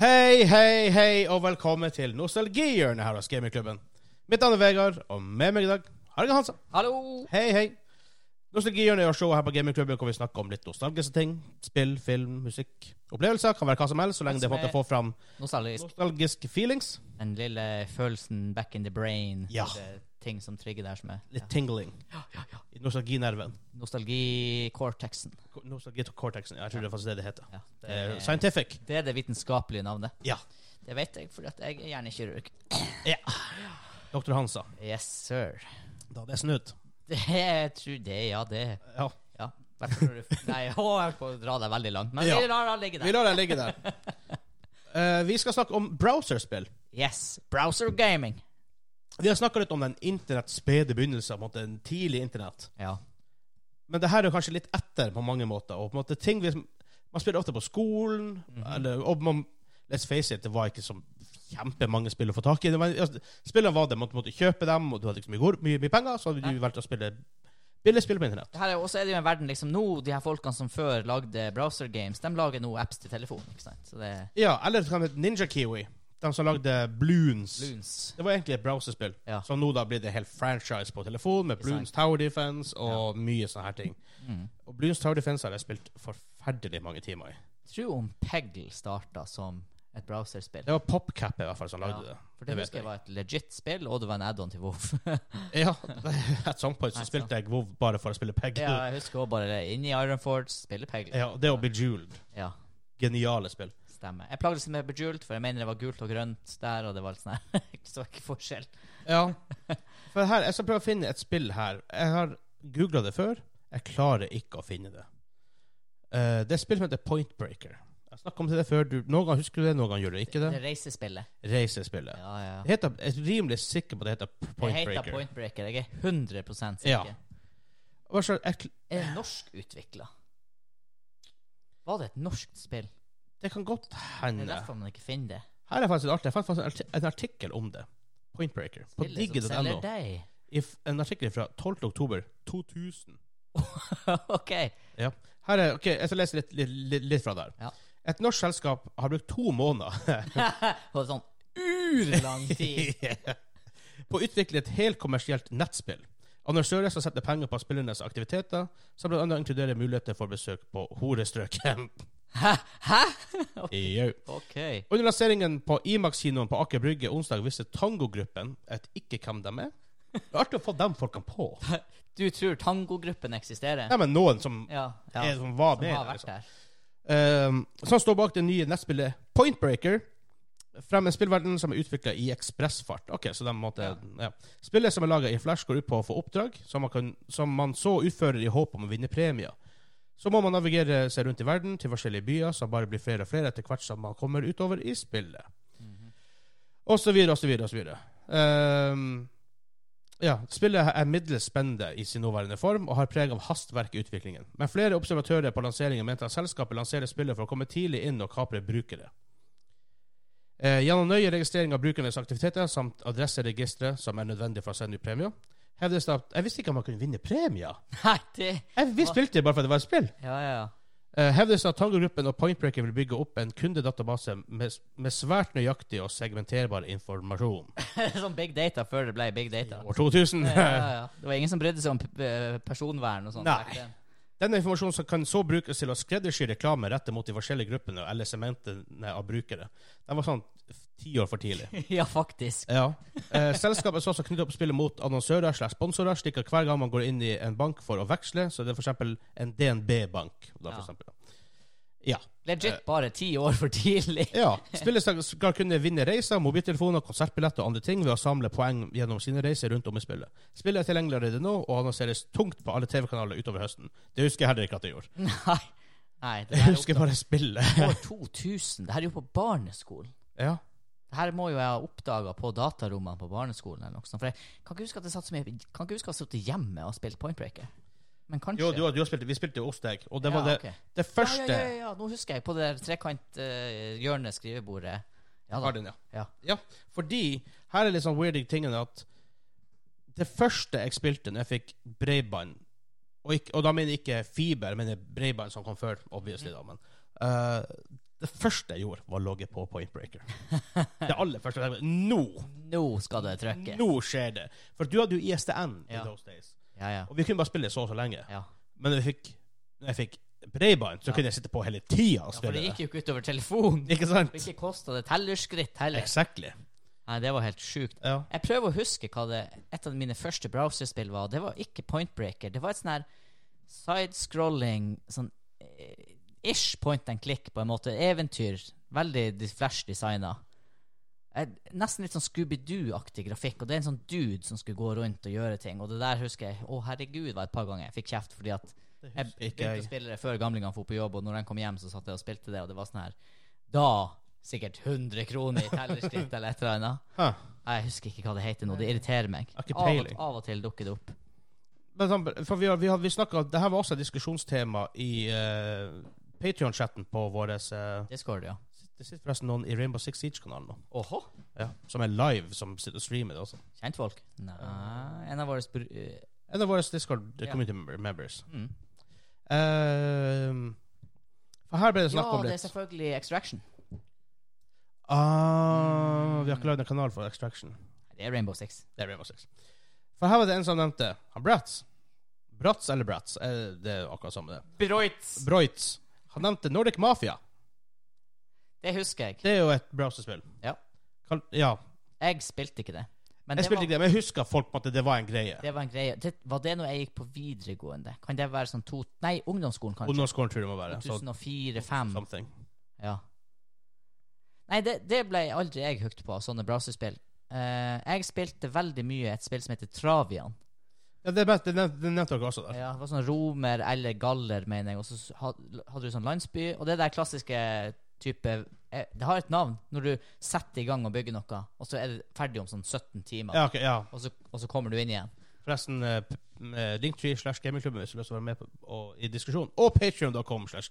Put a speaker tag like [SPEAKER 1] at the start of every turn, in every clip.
[SPEAKER 1] Hei, hei, hei, og velkommen til nostalgihjørnet her hos Gamingklubben. Mitt navn er Vegard, og med meg i dag har jeg Hansa.
[SPEAKER 2] Hallo!
[SPEAKER 1] Hei, hei. Nostalgihjørnet er showet her på Gamingklubben hvor vi snakker om litt nostalgiske ting. Spill, film, musikk, opplevelser. Kan være hva som helst, så lenge det er for at jeg får fram
[SPEAKER 2] Nostalgisk.
[SPEAKER 1] nostalgiske feelings.
[SPEAKER 2] Den lille følelsen back in the brain.
[SPEAKER 1] Ja.
[SPEAKER 2] Det er ting som trigger der som er
[SPEAKER 1] Litt tingling. I Nostalginerven.
[SPEAKER 2] nostalgi-cortexen.
[SPEAKER 1] Nostalgikorteksen. Ja, jeg tror det er faktisk det det heter.
[SPEAKER 2] Ja.
[SPEAKER 1] Det er scientific.
[SPEAKER 2] det er det vitenskapelige navnet.
[SPEAKER 1] Ja.
[SPEAKER 2] Det vet jeg, for jeg er hjernekirurg.
[SPEAKER 1] Doktor Hansa.
[SPEAKER 2] Yes, sir.
[SPEAKER 1] Da, det er snudd.
[SPEAKER 2] Det jeg tror det, ja, det.
[SPEAKER 1] Ja.
[SPEAKER 2] Ja. Hvertfall når du- Nei, å, jeg holdt på å dra deg veldig langt, men
[SPEAKER 1] Ja.
[SPEAKER 2] vi lar den ligge
[SPEAKER 1] Vi
[SPEAKER 2] der.
[SPEAKER 1] lar den ligge der. Eh, vi skal snakke om browserspill.
[SPEAKER 2] Yes. Browser gaming.
[SPEAKER 1] Vi har snakka litt om den internetts spede begynnelse, på en måte, en tidlig internett.
[SPEAKER 2] Ja.
[SPEAKER 1] Men det her er jo kanskje litt etter på mange måter. Og på en måte ting vi, Man spiller ofte på skolen,
[SPEAKER 2] Mhm.
[SPEAKER 1] eller, og man, let's face it, det var ikke så kjempemange spill å få tak i. Det var, altså, spillene var det, man måtte kjøpe dem, og du hadde ikke så mye, gor- mye, mye penger, så hadde du valgt å spille billigspill på internett.
[SPEAKER 2] Det her er, også er det jo en verden liksom nå, de her folkene som før lagde browser games, de lager nå apps til telefonen. ikke sant? Så det er
[SPEAKER 1] Ja, eller så kan det hete Ninja Kiwi, de som lagde Bloons.
[SPEAKER 2] loons.
[SPEAKER 1] Det var egentlig et browserspill,
[SPEAKER 2] Ja.
[SPEAKER 1] så nå da blir det helt franchise på telefon, med
[SPEAKER 2] Ikke sant.
[SPEAKER 1] Bloons Tower Defense og mye sånne her ting.
[SPEAKER 2] Mm.
[SPEAKER 1] Og Bloons Tower Defense har jeg spilt forferdelig mange timer i.
[SPEAKER 2] tror om Peggle starta som et browserspill.
[SPEAKER 1] Det var PopCap i hvert fall som lagde
[SPEAKER 2] Ja,
[SPEAKER 1] det.
[SPEAKER 2] For det,
[SPEAKER 1] vet
[SPEAKER 2] husker
[SPEAKER 1] jeg.
[SPEAKER 2] jeg var et legit spill, og det var en add-on til WoW.
[SPEAKER 1] Ja, at some point så
[SPEAKER 2] Nei,
[SPEAKER 1] spilte jeg WoW bare for å spille Peg.
[SPEAKER 2] ja,
[SPEAKER 1] Ja,
[SPEAKER 2] jeg husker også bare det. Inni Ironforge, spille Peggle.
[SPEAKER 1] det og Bejeweled.
[SPEAKER 2] Ja,
[SPEAKER 1] Geniale spill.
[SPEAKER 2] stemmer. Jeg plagdes med Bejult, for jeg mener det var gult og grønt der, og det var litt sånn her. Jeg så ikke forskjell.
[SPEAKER 1] Ja. For her, jeg skal prøve å finne et spill her. Jeg har googla det før. Jeg klarer ikke å finne det. Eh, det er et spill som heter Point Breaker. Jeg snakka om det før. Du, noen ganger husker du det, noen ganger gjør du ikke det.
[SPEAKER 2] Det reisespillet.
[SPEAKER 1] Reisespillet.
[SPEAKER 2] Ja, ja.
[SPEAKER 1] Det heter, jeg er rimelig sikker på at det heter P-
[SPEAKER 2] Det
[SPEAKER 1] Point
[SPEAKER 2] heter
[SPEAKER 1] Breaker.
[SPEAKER 2] Point Breaker. Jeg er 100 sikker.
[SPEAKER 1] Ja. Hva slags- jeg, kl-
[SPEAKER 2] Er det norskutvikla? Var det et norsk spill?
[SPEAKER 1] det kan godt
[SPEAKER 2] Det
[SPEAKER 1] hende.
[SPEAKER 2] er derfor man ikke finner det.
[SPEAKER 1] Her er faktisk et artig. Jeg fant faktisk en arti- en artikkel om det. Point Breaker. På
[SPEAKER 2] Spillet som
[SPEAKER 1] digg.no.
[SPEAKER 2] selger deg.
[SPEAKER 1] If- En artikkel fra 12. oktober 2000.
[SPEAKER 2] OK.
[SPEAKER 1] Her er, ok, Jeg skal lese litt, litt, litt, litt fra der.
[SPEAKER 2] Ja.
[SPEAKER 1] Et norsk selskap har brukt to måneder
[SPEAKER 2] Og sånn urlang tid.
[SPEAKER 1] på å utvikle et helt kommersielt nettspill. Annonsører som setter penger på spillernes aktiviteter, som bl.a. inkluderer muligheter for besøk på horestrøket.
[SPEAKER 2] Hæ? Hæ?
[SPEAKER 1] Jau.
[SPEAKER 2] OK.
[SPEAKER 1] Under lanseringen på Imax-kinoen på Aker Brygge onsdag visste tangogruppen et ikke hvem de er. Det er artig å få dem folkene på.
[SPEAKER 2] Du tror tangogruppen eksisterer?
[SPEAKER 1] Nei, men noen som,
[SPEAKER 2] Ja. ja.
[SPEAKER 1] er, som var
[SPEAKER 2] Som
[SPEAKER 1] med.
[SPEAKER 2] har
[SPEAKER 1] der,
[SPEAKER 2] vært
[SPEAKER 1] liksom.
[SPEAKER 2] der.
[SPEAKER 1] Ehm, som står bak det nye nettspillet Point Breaker. Frem en spillverden som er utvikla i ekspressfart. Ok, så de måtte, ja.
[SPEAKER 2] Ja.
[SPEAKER 1] Spillet som er laga i Flash, går ut på å få oppdrag som man, kan, som man så utfører i håp om å vinne premier. Så må man navigere seg rundt i verden til forskjellige byer, som bare blir flere og flere etter hvert som man kommer utover i spillet.
[SPEAKER 2] Mhm.
[SPEAKER 1] Og så videre, og så videre, og så videre. Ehm, ja, spillet er middels spennende i sin nåværende form og har preg av hastverk i utviklingen. Men flere observatører på lanseringen mente at selskapet lanserer spillet for å komme tidlig inn og kapre brukere. Eh, gjennom nøye registrering av brukernes aktiviteter samt adresseregistre som er nødvendig for å sende ut premier, hevdes det at Jeg visste ikke at man kunne vinne premier!
[SPEAKER 2] Nei, det
[SPEAKER 1] Jeg, vi spilte det bare fordi det var et spill!
[SPEAKER 2] Ja, ja, ja.
[SPEAKER 1] Eh, hevdes det at Tango-gruppen og Pointbreaker vil bygge opp en kundedatabase med, med svært nøyaktig og segmenterbar informasjon.
[SPEAKER 2] Sånn big data før det ble big data.
[SPEAKER 1] År 2000!
[SPEAKER 2] Ja, ja, ja. Det var ingen som brydde seg om p- eh, personvern og sånt.
[SPEAKER 1] Nei.
[SPEAKER 2] back then.
[SPEAKER 1] Denne informasjonen som kan så brukes til å skreddersy reklame rettet mot de forskjellige gruppene eller segmentene av brukere. Den var sånn f- ti år for tidlig.
[SPEAKER 2] ja, faktisk.
[SPEAKER 1] Ja. Eh, selskapet skal også knytte opp spillet mot annonsører slash sponsorer, slik at hver gang man går inn i en bank for å veksle, så er det for eksempel en DNB-bank. da,
[SPEAKER 2] Ja.
[SPEAKER 1] for eksempel. Ja. Eh.
[SPEAKER 2] Legit bare ti år for tidlig.
[SPEAKER 1] ja. Spillet skal- skal kunne vinne reiser, mobiltelefoner, konsertbilletter og andre ting ved å samle poeng gjennom sine reiser rundt om i spillet. Spillet er tilgjengelig allerede nå, og annonseres tungt på alle TV-kanaler utover høsten. Det husker jeg heller ikke at det gjorde.
[SPEAKER 2] Nei. Nei, det
[SPEAKER 1] Jeg
[SPEAKER 2] her er
[SPEAKER 1] husker bare spillet.
[SPEAKER 2] opp- år 2000. Det her er jo på barneskolen.
[SPEAKER 1] Ja.
[SPEAKER 2] Det her må jo jeg ha oppdaga på datarommene på barneskolen. eller noe sånt. For jeg kan ikke huske at jeg satt så mye Kan ikke huske at jeg satt hjemme og spilt Point Breaker. Men kanskje
[SPEAKER 1] Jo, du, har- du har spilt, vi spilte jo hos deg, og det
[SPEAKER 2] Ja,
[SPEAKER 1] var det,
[SPEAKER 2] ok.
[SPEAKER 1] det første
[SPEAKER 2] Ja, ja, ja, ja, nå husker jeg. På det der trekanthjørnet skrivebordet. Ja da.
[SPEAKER 1] Garden, ja.
[SPEAKER 2] Ja.
[SPEAKER 1] Ja, fordi her er litt sånn weird tingen at det første jeg spilte når jeg fikk bredbånd, og, ikk- og da mener jeg ikke fiber, men bredbånd som kom før, obviously, da, men eh, Det første jeg gjorde, var å logge på Point Breaker. Det aller første. jeg tenkte, Nå!
[SPEAKER 2] Nå skal det trykke.
[SPEAKER 1] Nå skjer det! For du hadde jo ISDN i
[SPEAKER 2] Ja.
[SPEAKER 1] those days.
[SPEAKER 2] Ja, ja.
[SPEAKER 1] Og vi kunne bare spille så og så lenge.
[SPEAKER 2] ja.
[SPEAKER 1] Men når jeg fikk, når jeg fikk bredbånd, så
[SPEAKER 2] Ja.
[SPEAKER 1] kunne jeg sitte på hele tida og
[SPEAKER 2] Ja, for
[SPEAKER 1] spille
[SPEAKER 2] det
[SPEAKER 1] det.
[SPEAKER 2] gikk jo ikke utover telefonen.
[SPEAKER 1] Ikke sant?
[SPEAKER 2] Og ikke kosta det tellerskritt heller.
[SPEAKER 1] Exactly.
[SPEAKER 2] Nei, det var helt sjukt.
[SPEAKER 1] Ja.
[SPEAKER 2] Jeg prøver å huske hva det et av mine første browserspill var. Det var ikke Point Breaker. Det var et sånn her sidescrolling sånn eh, ish point and click, på en måte. Eventyr. Veldig de- flash designa. Nesten litt sånn Scooby-Doo-aktig grafikk. Og det er en sånn dude som skulle gå rundt og gjøre ting. Og det der husker jeg Å, herregud, var et par ganger jeg fikk kjeft fordi at jeg
[SPEAKER 1] husker ikke
[SPEAKER 2] begynte
[SPEAKER 1] jeg.
[SPEAKER 2] å spille det før gamlingene dro på jobb, og når de kom hjem, så satt jeg og spilte det, og det var sånn her Da sikkert 100 kroner i tellerskritt eller et eller annet.
[SPEAKER 1] Huh.
[SPEAKER 2] Nei, Jeg husker ikke hva det heter nå. Det irriterer meg.
[SPEAKER 1] Har ikke
[SPEAKER 2] Av og,
[SPEAKER 1] peiling.
[SPEAKER 2] av og til dukker det opp.
[SPEAKER 1] Men sånn, for vi har, vi har, vi snakket, det her var også et diskusjonstema i uh, Patrion-chatten på vår eh,
[SPEAKER 2] Det skårer ja.
[SPEAKER 1] Det sitter forresten noen i Rainbow Six Siege-kanalen nå,
[SPEAKER 2] Åhå?
[SPEAKER 1] ja, som er live, som sitter og streamer det også.
[SPEAKER 2] Kjentfolk? Nei En av våre spr... eh,
[SPEAKER 1] En av våre Discord eh,
[SPEAKER 2] Ja.
[SPEAKER 1] community member- members.
[SPEAKER 2] Mm.
[SPEAKER 1] Eh, for her ble det
[SPEAKER 2] Ja,
[SPEAKER 1] snakk om
[SPEAKER 2] det er
[SPEAKER 1] litt
[SPEAKER 2] selvfølgelig Extraction.
[SPEAKER 1] ah, Vi har ikke lagd en kanal for Extraction.
[SPEAKER 2] Det er Rainbow Six.
[SPEAKER 1] Det er Rainbow Six. For her var det en som nevnte han Bratz. Bratz eller Bratz? Eh, det er jo akkurat samme, det.
[SPEAKER 2] Broitz!
[SPEAKER 1] Broitz. Han nevnte Nordic Mafia.
[SPEAKER 2] Det husker jeg.
[SPEAKER 1] Det er jo et browserspill.
[SPEAKER 2] Ja.
[SPEAKER 1] Kall- Ja.
[SPEAKER 2] Jeg spilte ikke det. Men
[SPEAKER 1] Jeg
[SPEAKER 2] det,
[SPEAKER 1] spilte
[SPEAKER 2] var,
[SPEAKER 1] ikke det, men jeg husker folk på at det var en greie.
[SPEAKER 2] det var en greie. Det, var det når jeg gikk på videregående? Kan det være sånn to Nei, ungdomsskolen, kanskje.
[SPEAKER 1] Ungdomsskolen tror jeg det må være. Så, Sånn.
[SPEAKER 2] 2004-2005.
[SPEAKER 1] something.
[SPEAKER 2] Ja. Nei, det, det ble aldri jeg hooked på, sånne browserspill. Eh, jeg spilte veldig mye et spill som heter Travian.
[SPEAKER 1] Ja, det, er best, det, nevnte, det nevnte dere også der.
[SPEAKER 2] Ja, det var sånn romer eller galler, mener jeg. Og så s- ha- hadde du sånn landsby. Og det der klassiske type eh, Det har et navn når du setter i gang og bygger noe, og så er det ferdig om sånn 17 timer.
[SPEAKER 1] Ja, ok, ja.
[SPEAKER 2] Og, så, og så kommer du inn igjen.
[SPEAKER 1] Forresten, eh, p- eh, Linktree slash Gamingklubben hvis du vil være med på, og, i diskusjonen. Og patreon.com slash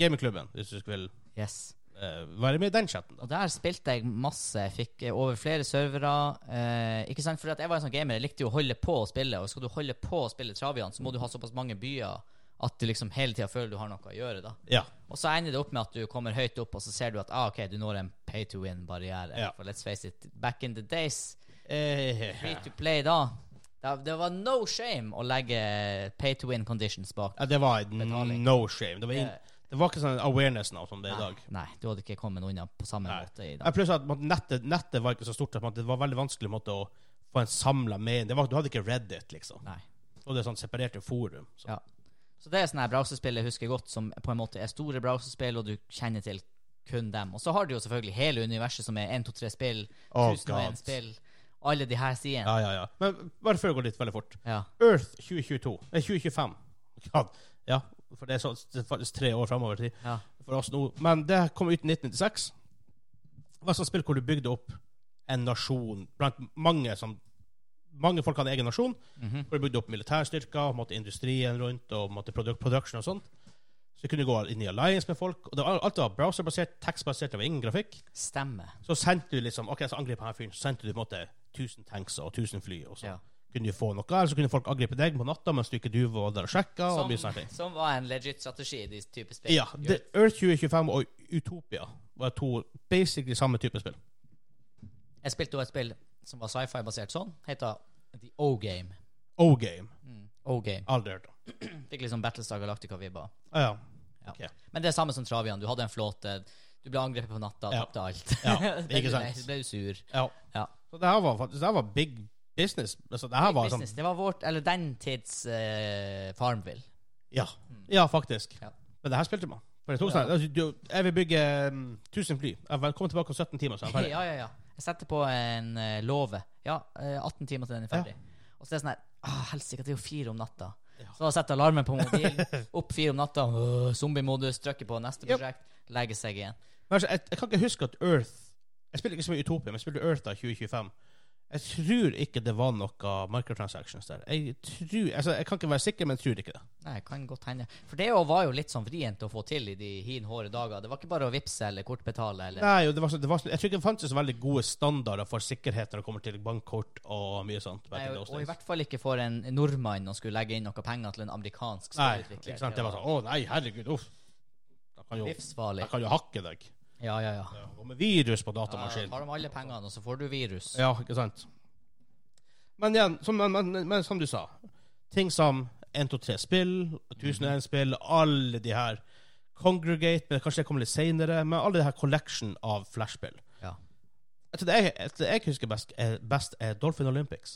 [SPEAKER 1] Gamingklubben hvis du vil
[SPEAKER 2] Yes.
[SPEAKER 1] eh, være med i den chatten. Da.
[SPEAKER 2] Og der spilte jeg masse. Jeg fikk eh, over flere servere. Eh, ikke sant? For at jeg var en sånn gamer. Jeg likte jo å holde på å spille. Og skal du holde på å spille Travian, så må du ha såpass mange byer at du liksom hele tida føler du har noe å gjøre. da
[SPEAKER 1] Ja.
[SPEAKER 2] Og så ender det opp med at du kommer høyt opp, og så ser du at ah, ok, du når en pay to win-barriere.
[SPEAKER 1] Ja.
[SPEAKER 2] For let's face it, back in the days,
[SPEAKER 1] Eh,
[SPEAKER 2] free to play da da- Det var no shame å legge pay to win conditions bak.
[SPEAKER 1] ja, det var et
[SPEAKER 2] Betaling.
[SPEAKER 1] no shame. Det var, ing-
[SPEAKER 2] Eh,
[SPEAKER 1] det var ikke sånn awareness nå som det er i
[SPEAKER 2] Nei,
[SPEAKER 1] dag.
[SPEAKER 2] nei, du hadde ikke kommet unna på samme
[SPEAKER 1] Nei.
[SPEAKER 2] måte i
[SPEAKER 1] Ja,
[SPEAKER 2] dag.
[SPEAKER 1] Pluss at man- nettet, nettet var ikke så stort. at man- Det var veldig vanskelig måte, å få en samla mening. Det var- Du hadde ikke Reddit, liksom.
[SPEAKER 2] Nei.
[SPEAKER 1] Og det er sånn separerte forum. Så.
[SPEAKER 2] Ja. Så det er sånne her browserspill jeg husker godt, som på en måte er store browserspill, og du kjenner til kun dem. Og så har du jo selvfølgelig hele universet, som er 1, 2, 3 spill,
[SPEAKER 1] Oh,
[SPEAKER 2] 1001
[SPEAKER 1] God.
[SPEAKER 2] spill, alle de her sidene.
[SPEAKER 1] Ja, ja, ja. Men bare før jeg går litt veldig fort.
[SPEAKER 2] Ja.
[SPEAKER 1] Earth 2022. Eh, 2025. God. Ja, for det er, så, det er faktisk tre år framover tid
[SPEAKER 2] Ja.
[SPEAKER 1] for oss nå. Men det kom ut i 1996. Det var et sånt spill hvor du bygde opp en nasjon blant mange som mange folk hadde en egen nasjon.
[SPEAKER 2] Mhm.
[SPEAKER 1] Hvor du bygde opp militærstyrker, måtte industrien rundt og måtte produ- production og sånt. Så du kunne gå inn i alliance med folk. Og det var, alt var browserbasert, tekstbasert, det var ingen grafikk.
[SPEAKER 2] Stemmer.
[SPEAKER 1] Så sendte du liksom Ok, så angriper han fyren. Så sendte du på en måte 1000 tanks og 1000 fly, og så
[SPEAKER 2] Ja.
[SPEAKER 1] kunne du få noe. Eller så kunne folk angripe deg på natta mens du ikke du var der og sjekka. og
[SPEAKER 2] Som,
[SPEAKER 1] mye sånne ting.
[SPEAKER 2] som var en legit strategi i de type spill.
[SPEAKER 1] Ja. The Earth 2025 og Utopia var to basically samme type spill.
[SPEAKER 2] Jeg spilte jo et spill som var sci-fi-basert sånn, heter The O-Game.
[SPEAKER 1] O-game.
[SPEAKER 2] O-Game.
[SPEAKER 1] Aldri hørt om.
[SPEAKER 2] Fikk liksom Battlestar Galactica-vibber.
[SPEAKER 1] Ah, ja.
[SPEAKER 2] Ja.
[SPEAKER 1] Ok.
[SPEAKER 2] Men det er samme som Travian. Du hadde en flåte, du ble angrepet på natta,
[SPEAKER 1] Ja.
[SPEAKER 2] tapte alt.
[SPEAKER 1] Ja,
[SPEAKER 2] Det
[SPEAKER 1] ikke
[SPEAKER 2] ble-
[SPEAKER 1] sant.
[SPEAKER 2] Så ble du sur.
[SPEAKER 1] ja.
[SPEAKER 2] Ja.
[SPEAKER 1] Så det her var faktisk det her var big business. Altså, det her var sånn
[SPEAKER 2] business. Det var vårt, eller den tids eh, Farmville.
[SPEAKER 1] Ja, ja faktisk.
[SPEAKER 2] Mm. Ja.
[SPEAKER 1] Men det her spilte man. For det tok sånn, altså, du, jeg vil bygge um, 1000 fly. Jeg vil komme tilbake om 17 timer, så er jeg
[SPEAKER 2] ja,
[SPEAKER 1] ferdig.
[SPEAKER 2] ja, ja. Jeg setter på en eh, låve. Ja, eh, 18 timer til den er ferdig. Og så er det sånn her ah, Helsike, det er jo fire om natta. Så da setter jeg alarmen på mobilen. Opp fire om natta, øh, zombiemodus, trykker på neste
[SPEAKER 1] Yep.
[SPEAKER 2] prosjekt, legger seg igjen.
[SPEAKER 1] Men altså, jeg, jeg kan ikke huske at Earth Jeg spiller ikke så mye Utopia, men jeg spilte Earth da 2025. Jeg tror ikke det var noe microtransactions der. Jeg tror, altså jeg kan ikke være sikker, men jeg tror ikke det.
[SPEAKER 2] Nei, kan godt hende. For det jo var jo litt sånn vrient å få til i de hin håre dager. Det var ikke bare å vippse eller kortbetale eller
[SPEAKER 1] Nei, jo, det var, så- det var, så- Jeg tror ikke det fantes så veldig gode standarder for sikkerhet når det kommer til bankkort og mye sånt. back
[SPEAKER 2] Nei,
[SPEAKER 1] in
[SPEAKER 2] og,
[SPEAKER 1] those
[SPEAKER 2] og i
[SPEAKER 1] days.
[SPEAKER 2] hvert fall ikke for en nordmann å skulle legge inn noe penger til en amerikansk
[SPEAKER 1] Nei,
[SPEAKER 2] spillutvikler.
[SPEAKER 1] sånn, ikke sant? Det var sånn Å nei, herregud, uff. Da kan jo,
[SPEAKER 2] Livsfarlig.
[SPEAKER 1] jeg kan jo hakke deg.
[SPEAKER 2] Ja, ja, ja.
[SPEAKER 1] Ja, Og med virus på
[SPEAKER 2] Da
[SPEAKER 1] datamaskinen.
[SPEAKER 2] tar de alle pengene, og så får du virus.
[SPEAKER 1] Ja, ikke sant. Men igjen, som, men, men, men, som du sa, ting som 1, 2, 3 spill, 1001 spill, alle de her Congregate, men kanskje det kommer litt senere, men alle de her collection av flashspill.
[SPEAKER 2] Ja.
[SPEAKER 1] Jeg tror det jeg, jeg, tror det jeg husker best er, best er Dolphin Olympics.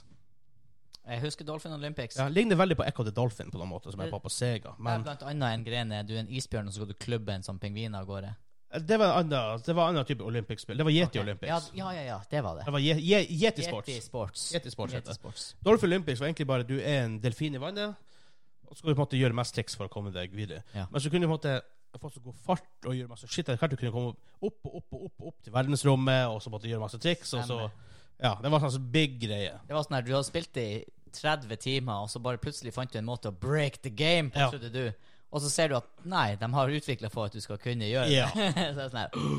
[SPEAKER 2] Jeg husker Dolphin Olympics.
[SPEAKER 1] Ja, ligner veldig på Echo the Dolphin på noen måte, som jeg var på Sega.
[SPEAKER 2] Der
[SPEAKER 1] Men
[SPEAKER 2] blant annet en gren er du er en isbjørn, og så går du klubbe en sånn pingvin av gårde.
[SPEAKER 1] det var en annen, det var en annen type olympic-spill. Det var Yeti
[SPEAKER 2] Ok.
[SPEAKER 1] Olympics.
[SPEAKER 2] Ja, ja, ja, ja. Det var
[SPEAKER 1] Det
[SPEAKER 2] det.
[SPEAKER 1] var Ye- Ye- Yeti Sports.
[SPEAKER 2] Yeti Sports.
[SPEAKER 1] Yeti Sports heter
[SPEAKER 2] Yeti
[SPEAKER 1] det.
[SPEAKER 2] Sports.
[SPEAKER 1] Dolphin Olympics var egentlig bare du er en delfin i vannet, og så skal du på en måte gjøre mest triks for å komme deg videre.
[SPEAKER 2] Ja.
[SPEAKER 1] Men så kunne du på en måte få så god fart og gjøre masse shit etter hvert. Du kunne komme opp og opp og opp, og opp til verdensrommet, og så måtte du gjøre masse triks, og så
[SPEAKER 2] Stemmer.
[SPEAKER 1] Ja, det var en sånn big greie.
[SPEAKER 2] Det var sånn her, du hadde spilt det i 30 timer, og så bare plutselig fant du en måte å break the game på,
[SPEAKER 1] Ja.
[SPEAKER 2] trodde du. Og så ser du at nei, de har utvikla for at du skal kunne gjøre det.
[SPEAKER 1] Ja.
[SPEAKER 2] så er det sånn her,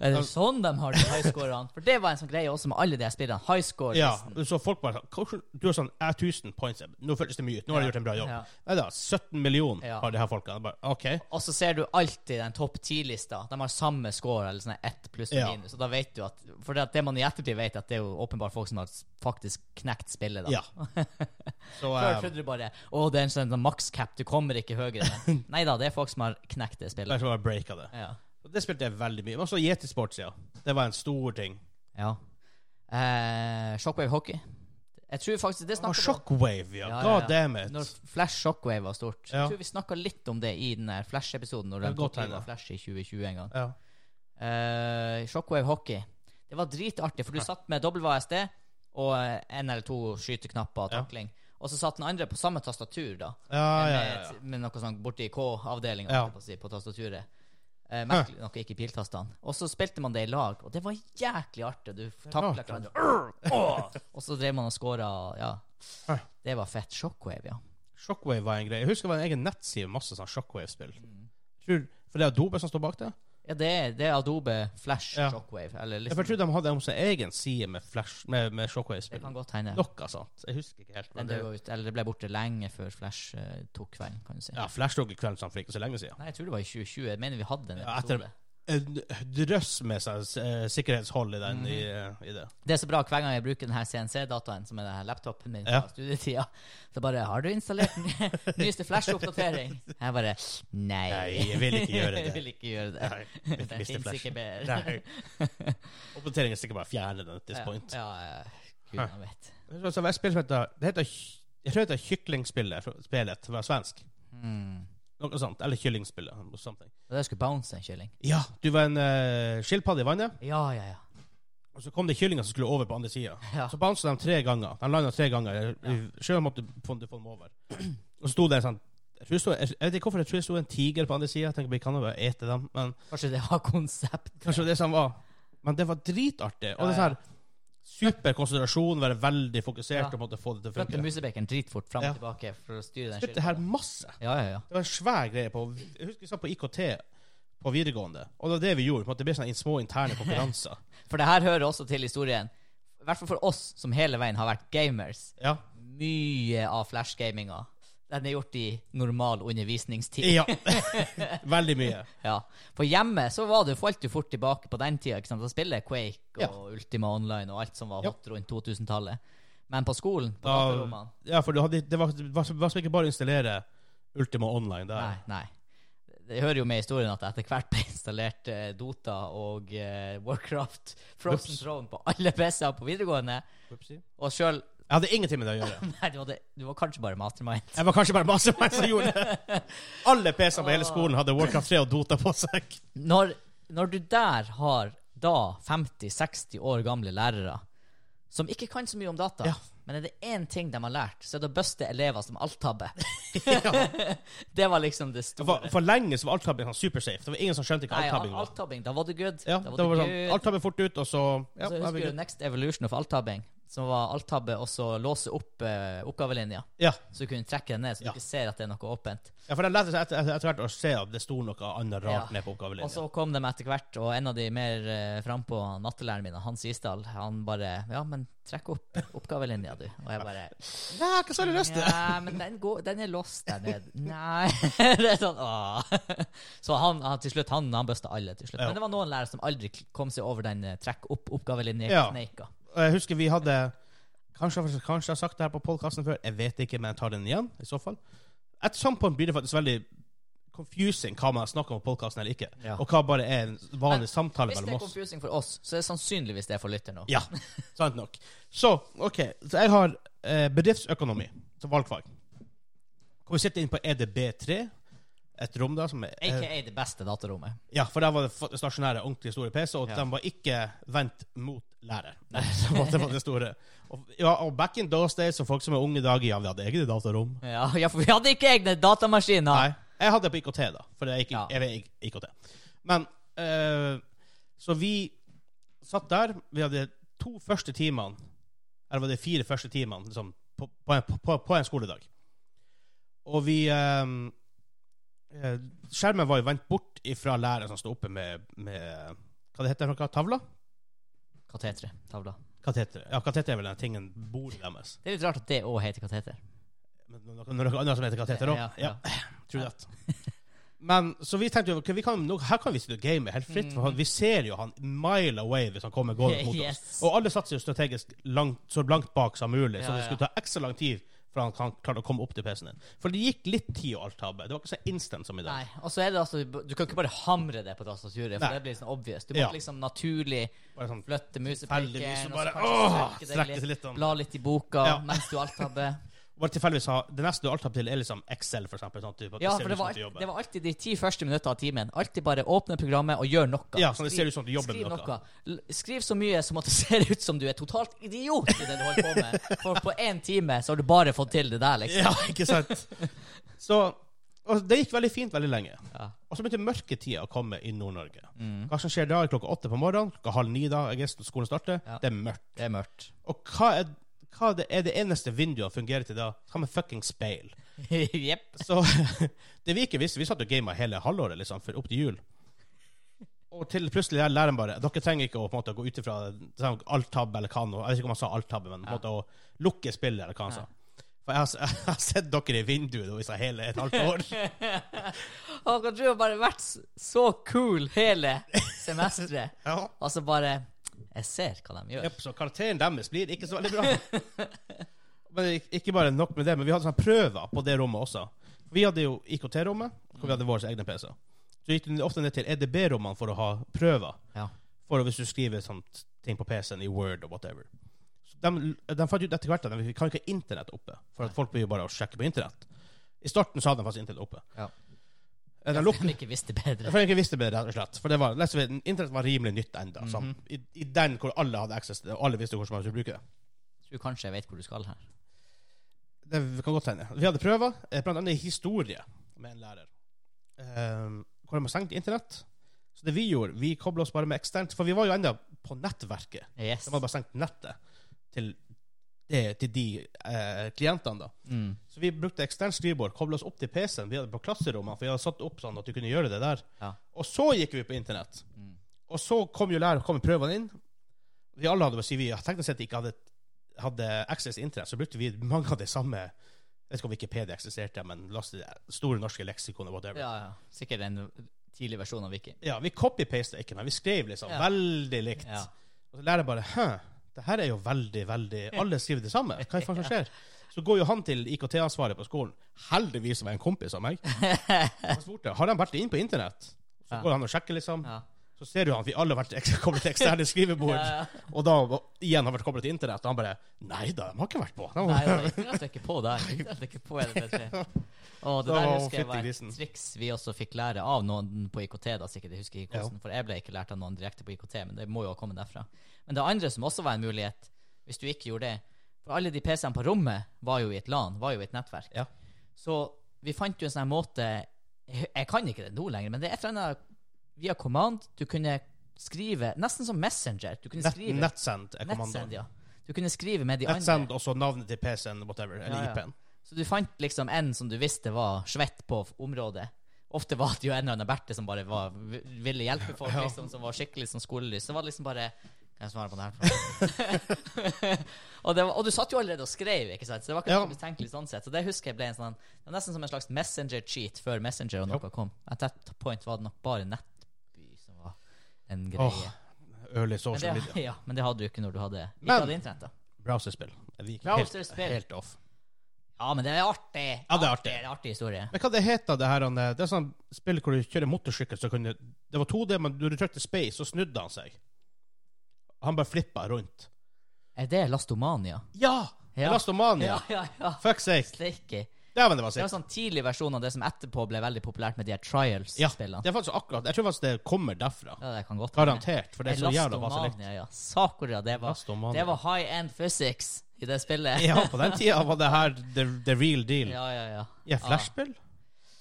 [SPEAKER 2] er det sånn de har de highscorerne? For det var en sånn greie også med alle de her spillene.
[SPEAKER 1] Ja,
[SPEAKER 2] Highscore-listen.
[SPEAKER 1] så folk bare sånn «Hvordan- Du er sånn Jeg har 1000 points. Nå føltes det mye ut. Nå har jeg gjort en bra jobb.
[SPEAKER 2] Ja.
[SPEAKER 1] Nei da, 17 millioner
[SPEAKER 2] Ja.
[SPEAKER 1] har de her folka. Bare, OK.
[SPEAKER 2] Og så ser du alltid den topp ti-lista. De har samme score, eller sånn her ett pluss og
[SPEAKER 1] Ja.
[SPEAKER 2] minus. Og da vet du at For det, at det man i ettertid vet, at det er jo åpenbart folk som har faktisk knekt spillet, da.
[SPEAKER 1] Ja. Så
[SPEAKER 2] Før
[SPEAKER 1] eh,
[SPEAKER 2] trodde du bare Å, det er en sånn makscap, du kommer ikke høyere. Nei da, det er folk som har knekt
[SPEAKER 1] det
[SPEAKER 2] det
[SPEAKER 1] er
[SPEAKER 2] spillet.
[SPEAKER 1] som å breake det.
[SPEAKER 2] Ja.
[SPEAKER 1] Og Det spilte jeg veldig mye. Men også Yeti Sports, ja. Det var en stor ting.
[SPEAKER 2] ja. Eh, shockwave hockey. Jeg tror faktisk det
[SPEAKER 1] Og
[SPEAKER 2] snakket vi om-
[SPEAKER 1] Shockwave, ja.
[SPEAKER 2] Ja, ja, ja.
[SPEAKER 1] God damn it.
[SPEAKER 2] Når Flash Shockwave var stort.
[SPEAKER 1] Ja.
[SPEAKER 2] Jeg tror vi snakka litt om det i den der Flash-episoden, når
[SPEAKER 1] Det er
[SPEAKER 2] de
[SPEAKER 1] godt
[SPEAKER 2] tok livet
[SPEAKER 1] tegnet.
[SPEAKER 2] av Flash i 2020 en gang.
[SPEAKER 1] Ja.
[SPEAKER 2] Eh, shockwave hockey. Det var dritartig, for du satt med WASD og eh, en eller to skyteknapper og
[SPEAKER 1] Ja.
[SPEAKER 2] takling. Og så satt den andre på samme tastatur, da.
[SPEAKER 1] Ja, ja, ja,
[SPEAKER 2] med,
[SPEAKER 1] ja.
[SPEAKER 2] med noe sånn borti K-avdelinga
[SPEAKER 1] Ja.
[SPEAKER 2] på, å si, på tastaturet. Eh, merkelig nok ikke piltastene. Og så spilte man det i lag, og det var jæklig artig. Du takla
[SPEAKER 1] rart,
[SPEAKER 2] hverandre. Arr! Åh! Og så drev man og scora. Ja.
[SPEAKER 1] Hæ.
[SPEAKER 2] Det var fett. Shockwave, ja.
[SPEAKER 1] Shockwave var en greie. Jeg husker det var en egen nettside med masse sånn Shockwave-spill.
[SPEAKER 2] Mm.
[SPEAKER 1] Tror- For det er Adobe som står bak det?
[SPEAKER 2] ja det, er, det er Adobe Flash
[SPEAKER 1] Ja.
[SPEAKER 2] Shockwave. Eller
[SPEAKER 1] Jeg tror
[SPEAKER 2] liksom,
[SPEAKER 1] de hadde om sin egen side med, flash- med, med
[SPEAKER 2] det
[SPEAKER 1] Shockwave-spill.
[SPEAKER 2] kan godt hende.
[SPEAKER 1] Noe sånt. Jeg husker ikke helt. Men
[SPEAKER 2] Den døde
[SPEAKER 1] det,
[SPEAKER 2] jo ut, eller det ble borte lenge før Flash eh, tok kvelden, kan du si.
[SPEAKER 1] ja, Flash tok i kvelden sånn for ikke så lenge siden.
[SPEAKER 2] Nei, jeg tror det var i 2020. Jeg mener vi hadde en
[SPEAKER 1] Ja,
[SPEAKER 2] episode.
[SPEAKER 1] etter- En drøss med seg eh, sikkerhetshold i, den,
[SPEAKER 2] Mhm.
[SPEAKER 1] i, eh, i det.
[SPEAKER 2] Det er så bra hver gang jeg bruker denne CNC-dataen, som er denne laptopen min fra
[SPEAKER 1] Ja.
[SPEAKER 2] studietida, så bare 'Har du installert den nyeste Flash-oppdatering?' Jeg bare Nei.
[SPEAKER 1] Nei, jeg vil ikke gjøre det.
[SPEAKER 2] jeg vil ikke gjøre det.
[SPEAKER 1] Nei, vil ikke
[SPEAKER 2] det
[SPEAKER 1] miste
[SPEAKER 2] finnes
[SPEAKER 1] Flash.
[SPEAKER 2] ikke mer.
[SPEAKER 1] Nei. Oppdateringen er sikkert bare å fjerne den at this
[SPEAKER 2] Ja,
[SPEAKER 1] point.
[SPEAKER 2] Ja, ja,
[SPEAKER 1] Hæ.
[SPEAKER 2] Gudene vet.
[SPEAKER 1] Jeg tror Det var et spill som heter Det heter Ky- Jeg tror det heter Kyklingspillet, spillet, fra svensk.
[SPEAKER 2] Hmm.
[SPEAKER 1] Noe sånt. Eller Kyllingspillet. Something.
[SPEAKER 2] Og der skulle bounce en kylling.
[SPEAKER 1] Ja, du var en uh, skilpadde i vannet,
[SPEAKER 2] Ja, ja, ja.
[SPEAKER 1] og så kom det kyllinger som skulle over på andre sida.
[SPEAKER 2] Ja.
[SPEAKER 1] Så bounsa de tre ganger. De landa tre ganger. Sjøl måtte du få du få dem over. Og så sto det en sånn jeg, tror det sto- jeg jeg vet ikke hvorfor jeg tror det sto en tiger på andre sida. Tenker vi kan jo bare ete dem, men
[SPEAKER 2] Kanskje det var konsept.
[SPEAKER 1] kanskje det var det som var Men det var dritartig. Og det er
[SPEAKER 2] Ja,
[SPEAKER 1] sånn her super konsentrasjon, være veldig fokusert
[SPEAKER 2] Ja.
[SPEAKER 1] og på en måte få det til å
[SPEAKER 2] Flytte
[SPEAKER 1] funke.
[SPEAKER 2] musebekeren dritfort fram og
[SPEAKER 1] Ja.
[SPEAKER 2] tilbake for å styre den
[SPEAKER 1] Spilte her
[SPEAKER 2] kyllinga.
[SPEAKER 1] masse.
[SPEAKER 2] Ja, ja, ja.
[SPEAKER 1] Det var en svær greie på Jeg husker vi sa på IKT på videregående, og det var det vi gjorde. på en måte Det ble sånne små interne konkurranser.
[SPEAKER 2] For det her hører også til historien. I hvert fall for oss som hele veien har vært gamers.
[SPEAKER 1] Ja.
[SPEAKER 2] Mye av flashgaminga. Den er gjort i normal undervisningstid.
[SPEAKER 1] Ja. Veldig mye.
[SPEAKER 2] Ja. For hjemme så var det, falt du fort tilbake på den tida. ikke sant? Da spiller Quake og Ultima Online og alt som var
[SPEAKER 1] Ja.
[SPEAKER 2] hot rundt 2000-tallet. Men på skolen, på
[SPEAKER 1] Da-
[SPEAKER 2] datarommene
[SPEAKER 1] Ja, for du hadde, det var, det var, var som ikke bare å installere Ultima Online der.
[SPEAKER 2] Nei, nei. Det hører jo med i historien at det etter hvert ble installert eh, Dota og eh, Warcraft, Frozen
[SPEAKER 1] Ups.
[SPEAKER 2] Throne på alle PC-er på videregående.
[SPEAKER 1] Whoopsie.
[SPEAKER 2] Og sjøl
[SPEAKER 1] Jeg hadde ingenting med det å gjøre.
[SPEAKER 2] Nei, du, hadde, du var kanskje bare mastermind.
[SPEAKER 1] Jeg var kanskje bare masse meg som gjorde det. Alle PC-ene på hele skolen hadde Warcraft 3 og Dota på seg.
[SPEAKER 2] Når, når du der har da 50-60 år gamle lærere som ikke kan så mye om data,
[SPEAKER 1] Ja.
[SPEAKER 2] men er det én ting de har lært, så er det å buste elever som alltabber.
[SPEAKER 1] Ja.
[SPEAKER 2] Det var liksom det store.
[SPEAKER 1] For, for lenge så var alt-tabbing sånn supersafe. Det var ingen som skjønte hva
[SPEAKER 2] Nei,
[SPEAKER 1] alt-tabbing var.
[SPEAKER 2] alt-tabbing, da var det good.
[SPEAKER 1] Ja,
[SPEAKER 2] da
[SPEAKER 1] det
[SPEAKER 2] var det
[SPEAKER 1] var sånn,
[SPEAKER 2] good.
[SPEAKER 1] alt-tabbing fort ut, og så ja,
[SPEAKER 2] så
[SPEAKER 1] da er vi
[SPEAKER 2] husker du
[SPEAKER 1] good.
[SPEAKER 2] Next Evolution of alltabbing? som var alt-tabbe, og så låse opp eh, oppgavelinja.
[SPEAKER 1] Ja.
[SPEAKER 2] Så du kunne trekke den ned, så du
[SPEAKER 1] Ja.
[SPEAKER 2] ikke ser at det er noe åpent.
[SPEAKER 1] Ja, for de lærte seg etter, etter, etter hvert å se at det sto noe annet rart
[SPEAKER 2] Ja.
[SPEAKER 1] ned på
[SPEAKER 2] Og
[SPEAKER 1] oppgavelinja.
[SPEAKER 2] så kom de etter hvert, og en av de mer eh, frampå, han mattelæreren min, Hans Isdal, han bare Ja, men trekk opp oppgavelinja, du. Og jeg bare
[SPEAKER 1] Ja, hva sa du lyst til?
[SPEAKER 2] Ja, men den, går, den er låst der nede. Nei Det er sånn åh. Så han, han til slutt Han, han busta alle til slutt.
[SPEAKER 1] Ja.
[SPEAKER 2] Men det var noen lærere som aldri k- kom seg over den eh, trekk opp
[SPEAKER 1] Ja.
[SPEAKER 2] oppgavelinje-kneika.
[SPEAKER 1] Og Jeg husker vi hadde Kanskje, kanskje jeg har sagt det her på podkasten før, jeg vet ikke, men jeg tar den igjen, i så fall. Et sånt punkt blir det faktisk veldig confusing hva man snakker om på podkasten eller ikke,
[SPEAKER 2] Ja.
[SPEAKER 1] og hva bare er en vanlig
[SPEAKER 2] Men
[SPEAKER 1] samtale
[SPEAKER 2] Hvis det
[SPEAKER 1] mellom
[SPEAKER 2] er
[SPEAKER 1] oss.
[SPEAKER 2] confusing for oss, så er det sannsynligvis det for lytter nå.
[SPEAKER 1] Ja, sant nok. Så, OK. Så jeg har eh, bedriftsøkonomi som valgfag. Hvor vi sitter inne på E EDB3, et rom der som er eh,
[SPEAKER 2] AKA det beste datarommet.
[SPEAKER 1] Ja, for der var det f- stasjonære, ordentlig store PC, og
[SPEAKER 2] Ja.
[SPEAKER 1] de var ikke vendt mot lærer. Det var det var det store. Og, ja, og back in those days, og folk som er unge i dag, ja, vi hadde egne datarom.
[SPEAKER 2] Ja, ja, for vi hadde ikke egne datamaskiner!
[SPEAKER 1] Nei. Jeg hadde det på IKT, da, for jeg, gikk,
[SPEAKER 2] Ja.
[SPEAKER 1] jeg vet ikke IKT. Men eh, Så vi satt der. Vi hadde to første timene, eller var det fire første timene, liksom, på, på, en, på, på en skoledag. Og vi eh, eh, Skjermen var jo vendt bort ifra læreren som sto oppe med, med Hva det heter det? for noe? Tavla?
[SPEAKER 2] Katetre. Tavla.
[SPEAKER 1] Kateter. Ja, kateter er vel den tingen bordet deres.
[SPEAKER 2] Det er litt rart at det òg heter kateter.
[SPEAKER 1] Men noe, noe annet som heter kateter òg? ja. True
[SPEAKER 2] Ja.
[SPEAKER 1] that. Men så vi tenkte jo ok, vi kan, nå, her kan vi sitte og game helt fritt, for han, vi ser jo han mile away hvis han kommer gående mot oss.
[SPEAKER 2] Mm. Yes.
[SPEAKER 1] Og alle satser jo strategisk langt, så langt bak som mulig, så
[SPEAKER 2] Ja,
[SPEAKER 1] det
[SPEAKER 2] ja.
[SPEAKER 1] skulle ta ekstra lang tid for han, han klarte å komme opp til PC-en din. For det gikk litt tid og alt tabbe. Det var ikke så instant som i dag.
[SPEAKER 2] Nei, og så er det altså Du kan ikke bare hamre det på tastaturet, for
[SPEAKER 1] Nei.
[SPEAKER 2] det blir sånn obvious. Du må
[SPEAKER 1] Ja.
[SPEAKER 2] liksom naturlig
[SPEAKER 1] Bare sånn,
[SPEAKER 2] flytte
[SPEAKER 1] Tilfeldigvis så
[SPEAKER 2] musepekeren, og
[SPEAKER 1] bare,
[SPEAKER 2] så
[SPEAKER 1] åh,
[SPEAKER 2] kanskje strekke deg
[SPEAKER 1] strekke
[SPEAKER 2] litt,
[SPEAKER 1] litt om.
[SPEAKER 2] bla litt i boka
[SPEAKER 1] Ja.
[SPEAKER 2] mens du alttabber.
[SPEAKER 1] bare tilfeldigvis ha Det neste du har alt tabbe til, er liksom Excel, for eksempel. Sånn, at du- at det
[SPEAKER 2] Ja,
[SPEAKER 1] ser
[SPEAKER 2] for det
[SPEAKER 1] ut som
[SPEAKER 2] var,
[SPEAKER 1] at du
[SPEAKER 2] alt,
[SPEAKER 1] jobber.
[SPEAKER 2] det var alltid de ti første minuttene av timen. Alltid bare åpne programmet og gjør noe.
[SPEAKER 1] Ja, sånn det ser ut som at du jobber
[SPEAKER 2] skriv
[SPEAKER 1] med noe.
[SPEAKER 2] L- Skriv så mye som at det ser ut som du er totalt idiot i det du holder på med. For på én time så har du bare fått til det der, liksom.
[SPEAKER 1] Ja, ikke sant? Så og det gikk veldig fint veldig lenge.
[SPEAKER 2] Ja. Mm.
[SPEAKER 1] Og så begynte mørketida å komme i Nord-Norge. Hva som skjer da er klokka åtte på morgenen, klokka halv ni da jeg er- skolen starter,
[SPEAKER 2] Ja.
[SPEAKER 1] det er mørkt.
[SPEAKER 2] Det er mørkt.
[SPEAKER 1] Og hva er, hva det, er det eneste vinduet som fungerer til da? Hva med fucking speil?
[SPEAKER 2] Jepp.
[SPEAKER 1] Så det vi ikke visste Vi satt og gama hele halvåret, liksom, for opp til jul. Og til plutselig der læreren bare Dere trenger ikke å på en måte, gå ut ifra sånn, alt-tabbe eller hva nå Jeg vet ikke om han sa alt-tabbe, men på en måte å lukke spillet, eller hva han sa. For jeg har, s- jeg har sett dere i vinduet nå i så hele et halvt år.
[SPEAKER 2] Han kan tro han bare har vært s- så cool hele semesteret.
[SPEAKER 1] Ja.
[SPEAKER 2] Og så bare Jeg ser hva de gjør.
[SPEAKER 1] Jep, så karakteren deres blir ikke så veldig bra. Men ik- ikke bare nok med det, men vi hadde sånne prøver på det rommet også. Vi hadde jo IKT-rommet, hvor vi hadde våre egne PC-er. Så gikk du ofte ned til EDB-rommene for å ha prøver.
[SPEAKER 2] Ja.
[SPEAKER 1] For hvis du skriver sånt ting på PC-en i Word og whatever. Så de, de fant ut etter hvert at de kan ikke ha internett oppe. For at folk blir jo bare å sjekke på internett. I starten så hadde de faktisk internett oppe.
[SPEAKER 2] Ja.
[SPEAKER 1] Eh, De
[SPEAKER 2] Hvis
[SPEAKER 1] lukket
[SPEAKER 2] de ikke visste bedre.
[SPEAKER 1] for jeg ikke visste bedre, rett og slett. For det var, let's say, Internett var rimelig nytt ennå. i, I den hvor alle hadde access til det, og alle visste hvordan man skulle bruke det.
[SPEAKER 2] Jeg tror kanskje jeg vet hvor du skal her.
[SPEAKER 1] Det kan godt hende. Vi hadde prøver, eh, blant annet i historie med en lærer. Ehm, hvor de har stengt internett. Så det vi gjorde, vi kobla oss bare med eksternt. For vi var jo ennå på nettverket.
[SPEAKER 2] Yes.
[SPEAKER 1] De hadde bare stengt nettet til, det, til de eh, klientene, da.
[SPEAKER 2] Mm.
[SPEAKER 1] Så vi brukte eksternt skrivebord, kobla oss opp til PC-en. Vi hadde på klasserommene, for vi hadde satt opp sånn at du kunne gjøre det der.
[SPEAKER 2] Ja.
[SPEAKER 1] Og så gikk vi på internett.
[SPEAKER 2] Mm.
[SPEAKER 1] Og så kom jo lærer, kom prøvene inn. Vi alle hadde si vi teknisk sett ikke hadde, hadde access til internett, så brukte vi mange av de samme Jeg vet ikke om Wikipedia eksisterte, men la oss si det store norske leksikon og whatever. Ja.
[SPEAKER 2] Ja, ja. Sikkert en tidlig versjon av Wiki.
[SPEAKER 1] vi copy-pasta ikke, men vi skrev liksom
[SPEAKER 2] Ja.
[SPEAKER 1] veldig likt.
[SPEAKER 2] Ja.
[SPEAKER 1] Og så lærer bare Hæ, det her er jo veldig, veldig Alle skriver det samme. Hva er det faen som skjer? Så går jo han til IKT-ansvaret på skolen. Heldigvis var jeg en kompis av meg. Han spurte har de vært inn på internett. Så
[SPEAKER 2] Ja.
[SPEAKER 1] går han og sjekker, liksom.
[SPEAKER 2] Ja. Eh,
[SPEAKER 1] Så ser du han, vi alle har vært eks- koblet til eksterne skrivebord.
[SPEAKER 2] Ja,
[SPEAKER 1] Og da var- igjen har vært koblet til internett. Og han bare Nei da, de har ikke vært på. De
[SPEAKER 2] Nei,
[SPEAKER 1] har-
[SPEAKER 2] altså, internett er ikke på der. Internett er ikke på LB3. Og det
[SPEAKER 1] Da
[SPEAKER 2] der
[SPEAKER 1] var
[SPEAKER 2] husker
[SPEAKER 1] fytti
[SPEAKER 2] jeg var
[SPEAKER 1] grisen.
[SPEAKER 2] et triks vi også fikk lære av noen på IKT. da sikkert, jeg husker ikke hvordan, For jeg ble ikke lært av noen direkte på IKT, men det må jo ha kommet derfra. Men det andre som også var en mulighet, hvis du ikke gjorde det For alle de PC-ene på rommet var jo i et LAN, var jo i et nettverk.
[SPEAKER 1] Ja.
[SPEAKER 2] Så vi fant jo en sånn her måte Jeg jeg kan ikke det nå lenger, men det er et eller annet via command du kunne skrive Nesten som Messenger. Du kunne
[SPEAKER 1] Nett,
[SPEAKER 2] skrive
[SPEAKER 1] nettsend er kommandoen.
[SPEAKER 2] Nettsend, ja. Du kunne skrive med de
[SPEAKER 1] Netsend,
[SPEAKER 2] andre.
[SPEAKER 1] og så navnet til PC-en, whatever, eller
[SPEAKER 2] Ja, ja.
[SPEAKER 1] IP-en.
[SPEAKER 2] Så du fant liksom en som du visste var svett på f- området. Ofte var det jo en eller annen Berthe som bare var, v- ville hjelpe folk,
[SPEAKER 1] Ja.
[SPEAKER 2] liksom, som var skikkelig som skolelys. Så var det liksom bare Hvem svarer på det her? for?» og, det var, og du satt jo allerede og skrev, ikke sant? så det var ikke
[SPEAKER 1] Ja.
[SPEAKER 2] noe betenkelig sånn sett. Så det husker jeg ble en sånn Det var nesten som en slags messenger-cheat før Messenger og noe kom. At that point var det nok bare Nettby som var en greie.
[SPEAKER 1] Åh, Early
[SPEAKER 2] men,
[SPEAKER 1] social media.
[SPEAKER 2] det, ja, men det hadde du ikke når du hadde Ikke
[SPEAKER 1] Men-
[SPEAKER 2] hadde internett, da.
[SPEAKER 1] Browserspill. Vi gikk helt,
[SPEAKER 2] Browserspill.
[SPEAKER 1] helt off.
[SPEAKER 2] Ja, men det er artig.
[SPEAKER 1] Ja, det er artig.
[SPEAKER 2] Det er en artig historie.
[SPEAKER 1] Men hva det heter det her han, eh, Det er sånn spill hvor du kjører motorsykkel, så kunne Det var 2D, men når du trykte space, så snudde han seg. Han bare flippa rundt.
[SPEAKER 2] Er det Lastomania?
[SPEAKER 1] Ja!
[SPEAKER 2] Ja.
[SPEAKER 1] Elastomania.
[SPEAKER 2] ja, ja.
[SPEAKER 1] Fuck sake.
[SPEAKER 2] Steike.
[SPEAKER 1] Ja, men det var
[SPEAKER 2] Det var
[SPEAKER 1] sikkert.
[SPEAKER 2] en sånn tidlig versjon av det som etterpå ble veldig populært med de her Trials-spillene.
[SPEAKER 1] Det er faktisk akkurat Jeg tror faktisk det kommer derfra.
[SPEAKER 2] Ja, det kan godt være.
[SPEAKER 1] Garantert, for det er så jævla vanskelig.
[SPEAKER 2] Elastomania, ja. Sakura, det var,
[SPEAKER 1] Elastomania.
[SPEAKER 2] det var high end physics i det spillet.
[SPEAKER 1] Ja, på den tida var det her the, the real deal. Ja,
[SPEAKER 2] ja, ja. ja.
[SPEAKER 1] flashspill?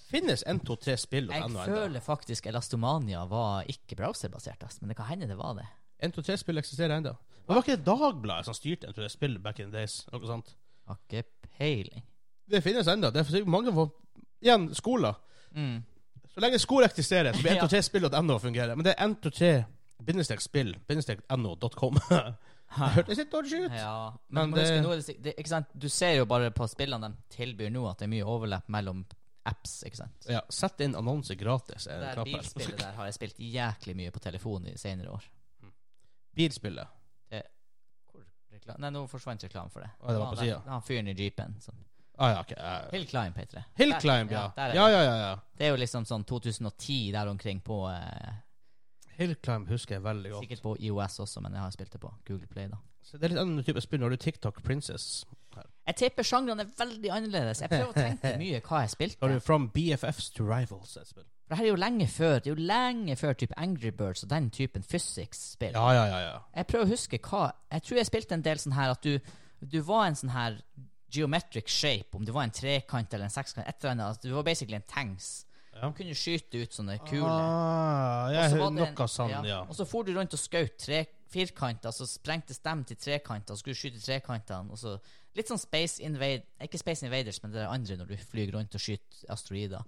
[SPEAKER 1] Finnes 1, 2, 3 spill og
[SPEAKER 2] Jeg
[SPEAKER 1] ennå ennå.
[SPEAKER 2] føler faktisk Elastomania var ikke browserbasert, ass. men det kan hende det var det.
[SPEAKER 1] 1, 2, 3 spill eksisterer ennå. Men var ikke det Dagbladet som styrte 1, 2, 3 spill back in the days? Noe sånt.
[SPEAKER 2] Har ikke peiling.
[SPEAKER 1] Det finnes ennå. Det er sikkert mange for... Igjen, skoler.
[SPEAKER 2] Mm.
[SPEAKER 1] Så lenge skoler eksisterer, så vil
[SPEAKER 2] Ja.
[SPEAKER 1] 1, 2, 3 spill og ennå fungere. Men det er 1, 2, 3 bindestek spill, bindestek no.com. Hørtes litt dårlig ut.
[SPEAKER 2] Ja,
[SPEAKER 1] Men
[SPEAKER 2] men, du må
[SPEAKER 1] det-
[SPEAKER 2] huske, nå er det, sik- det, ikke sant? du ser jo bare på spillene de tilbyr nå, at det er mye overlapp mellom apps. ikke sant?
[SPEAKER 1] Ja, sett inn annonser gratis. eh, Er
[SPEAKER 2] Det der
[SPEAKER 1] knappen.
[SPEAKER 2] bilspillet der har jeg spilt jæklig mye på telefon i senere år.
[SPEAKER 1] Bilspillet.
[SPEAKER 2] Hvor rekla- Nei, nå forsvant reklamen for det.
[SPEAKER 1] Å, det var på
[SPEAKER 2] han der-
[SPEAKER 1] siden.
[SPEAKER 2] Han fyren i jeepen. Som.
[SPEAKER 1] Ah, ja, ok. eh,
[SPEAKER 2] Hill Climb heter det.
[SPEAKER 1] Hill
[SPEAKER 2] Der-
[SPEAKER 1] Climb,
[SPEAKER 2] ja,
[SPEAKER 1] ja.
[SPEAKER 2] der er
[SPEAKER 1] Ja, ja, ja. ja.
[SPEAKER 2] Det er jo liksom sånn 2010 der omkring på eh,
[SPEAKER 1] Hill Climb husker jeg veldig godt.
[SPEAKER 2] Sikkert på IOS også, men jeg har spilt det på Google Play, da.
[SPEAKER 1] Så det er litt annen type spill. Nå har du TikTok Princess. Her.
[SPEAKER 2] Jeg tipper sjangrene er veldig annerledes. Jeg prøver å tenke mye hva jeg
[SPEAKER 1] Så har
[SPEAKER 2] spilte.
[SPEAKER 1] du From BFFs to Rivals. Et spill.
[SPEAKER 2] For det her er jo lenge før Det er jo lenge før type Angry Birds og den typen physics-spill.
[SPEAKER 1] Ja, ja, ja. ja.
[SPEAKER 2] Jeg prøver å huske hva Jeg tror jeg spilte en del sånn her at du, du var en sånn her geometric shape, om det var en trekant eller en sekskant, et eller annet. at Du var basically en tanks.
[SPEAKER 1] Ja.
[SPEAKER 2] Du kunne skyte ut sånne kuler.
[SPEAKER 1] Ah,
[SPEAKER 2] Og så
[SPEAKER 1] jeg,
[SPEAKER 2] var det en-
[SPEAKER 1] noe sånn, ja.
[SPEAKER 2] Og så for du rundt og skjøt tre- firkanter, så sprengtes dem til trekanter, og skulle skyte trekantene, og så Litt sånn Space Invaders Ikke Space Invaders, men det er andre når du flyr rundt og skyter asteroider.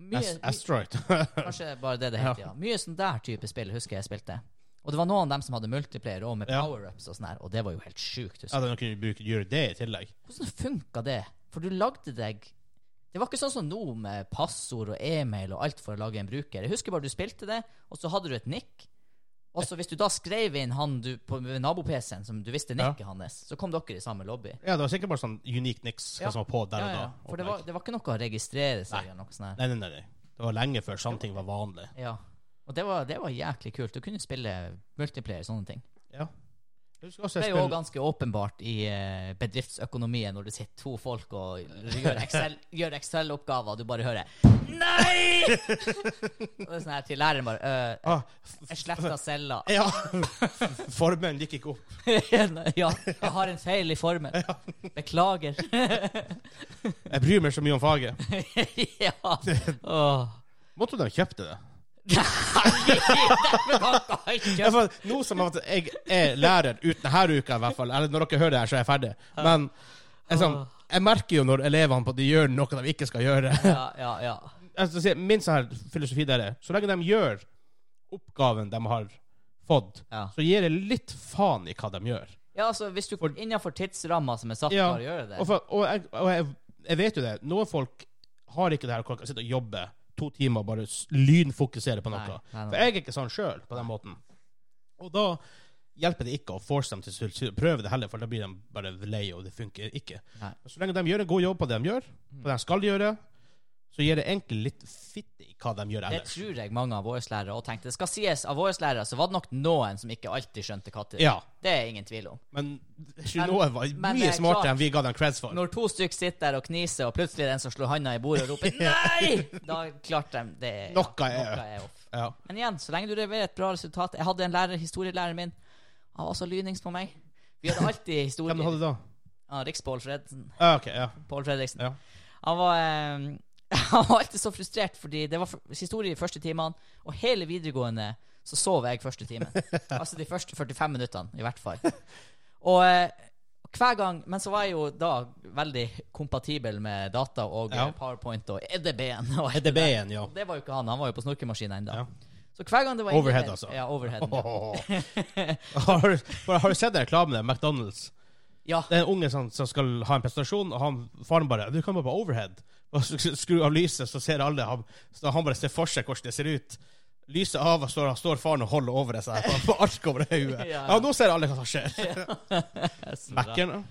[SPEAKER 2] Mye,
[SPEAKER 1] As- Asteroid.
[SPEAKER 2] Kanskje bare det det heter, ja. Mye sånn der type spill husker jeg spilte. Og det var noen av dem som hadde multiplayer og med
[SPEAKER 1] Ja.
[SPEAKER 2] power-ups og sånn her, og det var jo helt sjukt.
[SPEAKER 1] ja,
[SPEAKER 2] husker jeg.
[SPEAKER 1] den kunne du bruke, gjøre det i tillegg.
[SPEAKER 2] Hvordan funka det? For du lagde deg Det var ikke sånn som nå, med passord og e-mail og alt for å lage en bruker. Jeg husker bare du spilte det, og så hadde du et nikk. Og så hvis du da skrev inn han du på nabo-PC-en som du visste
[SPEAKER 1] Ja.
[SPEAKER 2] nikket hans, så kom dere i samme lobby.
[SPEAKER 1] Ja, det var sikkert bare sånn unique niks hva
[SPEAKER 2] Ja.
[SPEAKER 1] som var på der
[SPEAKER 2] Ja,
[SPEAKER 1] og da.
[SPEAKER 2] ja. For det var, det var ikke noe å registrere seg eller noe sånt. her.
[SPEAKER 1] Nei, nei, nei, nei. Det var lenge før sånne ting var vanlig.
[SPEAKER 2] Ja. Og det var, det var jæklig kult. Du kunne spille multiplayer og sånne ting.
[SPEAKER 1] Ja. Jeg husker også
[SPEAKER 2] Det
[SPEAKER 1] jeg
[SPEAKER 2] er jo også
[SPEAKER 1] spilte
[SPEAKER 2] ganske åpenbart i eh, bedriftsøkonomien når du sitter to folk og gjør Excel- gjør Excel-oppgaver, og du bare hører Nei! og det er sånn her til læreren bare «Øh,
[SPEAKER 1] ah, f-
[SPEAKER 2] Jeg sletta cella.
[SPEAKER 1] Ja! Formen gikk ikke opp.
[SPEAKER 2] ja, jeg har en feil i formen. Beklager.
[SPEAKER 1] Jeg bryr meg så mye om faget.
[SPEAKER 2] ja. Åh.
[SPEAKER 1] Måtte de kjøpte det?
[SPEAKER 2] Dæven, han kan ikke
[SPEAKER 1] Ja,
[SPEAKER 2] kjøpe-
[SPEAKER 1] for nå som at jeg er lærer ut denne uka, i hvert fall Eller når dere hører det her, så er jeg ferdig. Men jeg, sånn, jeg merker jo når elevene på at de gjør noe de ikke skal gjøre.
[SPEAKER 2] Ja, ja, ja.
[SPEAKER 1] Jeg skal si, min sånn her filosofi der er så lenge de gjør oppgaven de har fått,
[SPEAKER 2] Ja.
[SPEAKER 1] så gir jeg litt faen i hva de gjør.
[SPEAKER 2] ja, altså, hvis du innenfor tidsramma som er satt,
[SPEAKER 1] Ja,
[SPEAKER 2] bare gjør det.
[SPEAKER 1] Og, for, og, jeg, og jeg, jeg vet jo det. Noen folk har ikke det her hvor de kan sitte og jobbe to timer og bare s- lynfokusere på noe.
[SPEAKER 2] Nei, nei, nei.
[SPEAKER 1] For jeg er ikke sånn sjøl, på den måten. Og da hjelper det ikke å force dem til å s- prøve det heller, for da blir de bare lei, og det funker ikke.
[SPEAKER 2] Nei.
[SPEAKER 1] Men Så lenge de gjør en god jobb på det de gjør, på det de skal gjøre, så gir det egentlig litt fitte i hva de gjør
[SPEAKER 2] Det
[SPEAKER 1] ellers.
[SPEAKER 2] tror jeg mange av våre lærere òg tenkte. Det skal sies, av våre lærere så var det nok noen som ikke alltid skjønte katter.
[SPEAKER 1] Ja,
[SPEAKER 2] Det er ingen tvil om.
[SPEAKER 1] men Shinoa var
[SPEAKER 2] men det
[SPEAKER 1] mye
[SPEAKER 2] er
[SPEAKER 1] smartere
[SPEAKER 2] klart-
[SPEAKER 1] enn vi ga dem creds for.
[SPEAKER 2] Når to stykker sitter der og kniser, og plutselig er det en som slår handa i bordet og roper 'nei', da klarte de det.
[SPEAKER 1] Noe er-
[SPEAKER 2] Noe er off.
[SPEAKER 1] Ja.
[SPEAKER 2] Men igjen, så lenge du leverer et bra resultat Jeg hadde en lærer, historielæreren min. Han var så lynings på meg. Vi hadde alltid historie.
[SPEAKER 1] Hvem hadde du da?
[SPEAKER 2] Ah, Riks-Pål Fredsen.
[SPEAKER 1] Ah, ok, ja.
[SPEAKER 2] Pål Fredriksen.
[SPEAKER 1] Ja.
[SPEAKER 2] Han var eh, Han var alltid så frustrert, fordi det var f- historie i første timene, og hele videregående så sov jeg første timen. altså de første 45 minuttene, i hvert fall. Og eh, hver gang, Men så var jeg jo da veldig kompatibel med data og
[SPEAKER 1] Ja.
[SPEAKER 2] eh, PowerPoint og EDB-en. Og alt det der.
[SPEAKER 1] EDB-en, ja.
[SPEAKER 2] Og Det var jo ikke han, han var jo på snorkemaskinen ennå.
[SPEAKER 1] Ja.
[SPEAKER 2] Så hver gang det var
[SPEAKER 1] Overhead,
[SPEAKER 2] EDB
[SPEAKER 1] altså.
[SPEAKER 2] Ja, overhead. Ja.
[SPEAKER 1] har, du- bare, har du sett den reklamen der? McDonald's.
[SPEAKER 2] ja.
[SPEAKER 1] Det er en unge som, som skal ha en presentasjon, og han, faren bare 'Du kan bare på overhead'. Og så skrur av lyset, så ser alle han, så han bare ser for seg hvordan det ser ut. Lyset av, og står, står faren og holder over det seg på, på ark over hodet.
[SPEAKER 2] Ja.
[SPEAKER 1] Ja, nå ser alle hva som skjer.
[SPEAKER 2] Så bra.
[SPEAKER 1] Mac-en. ja.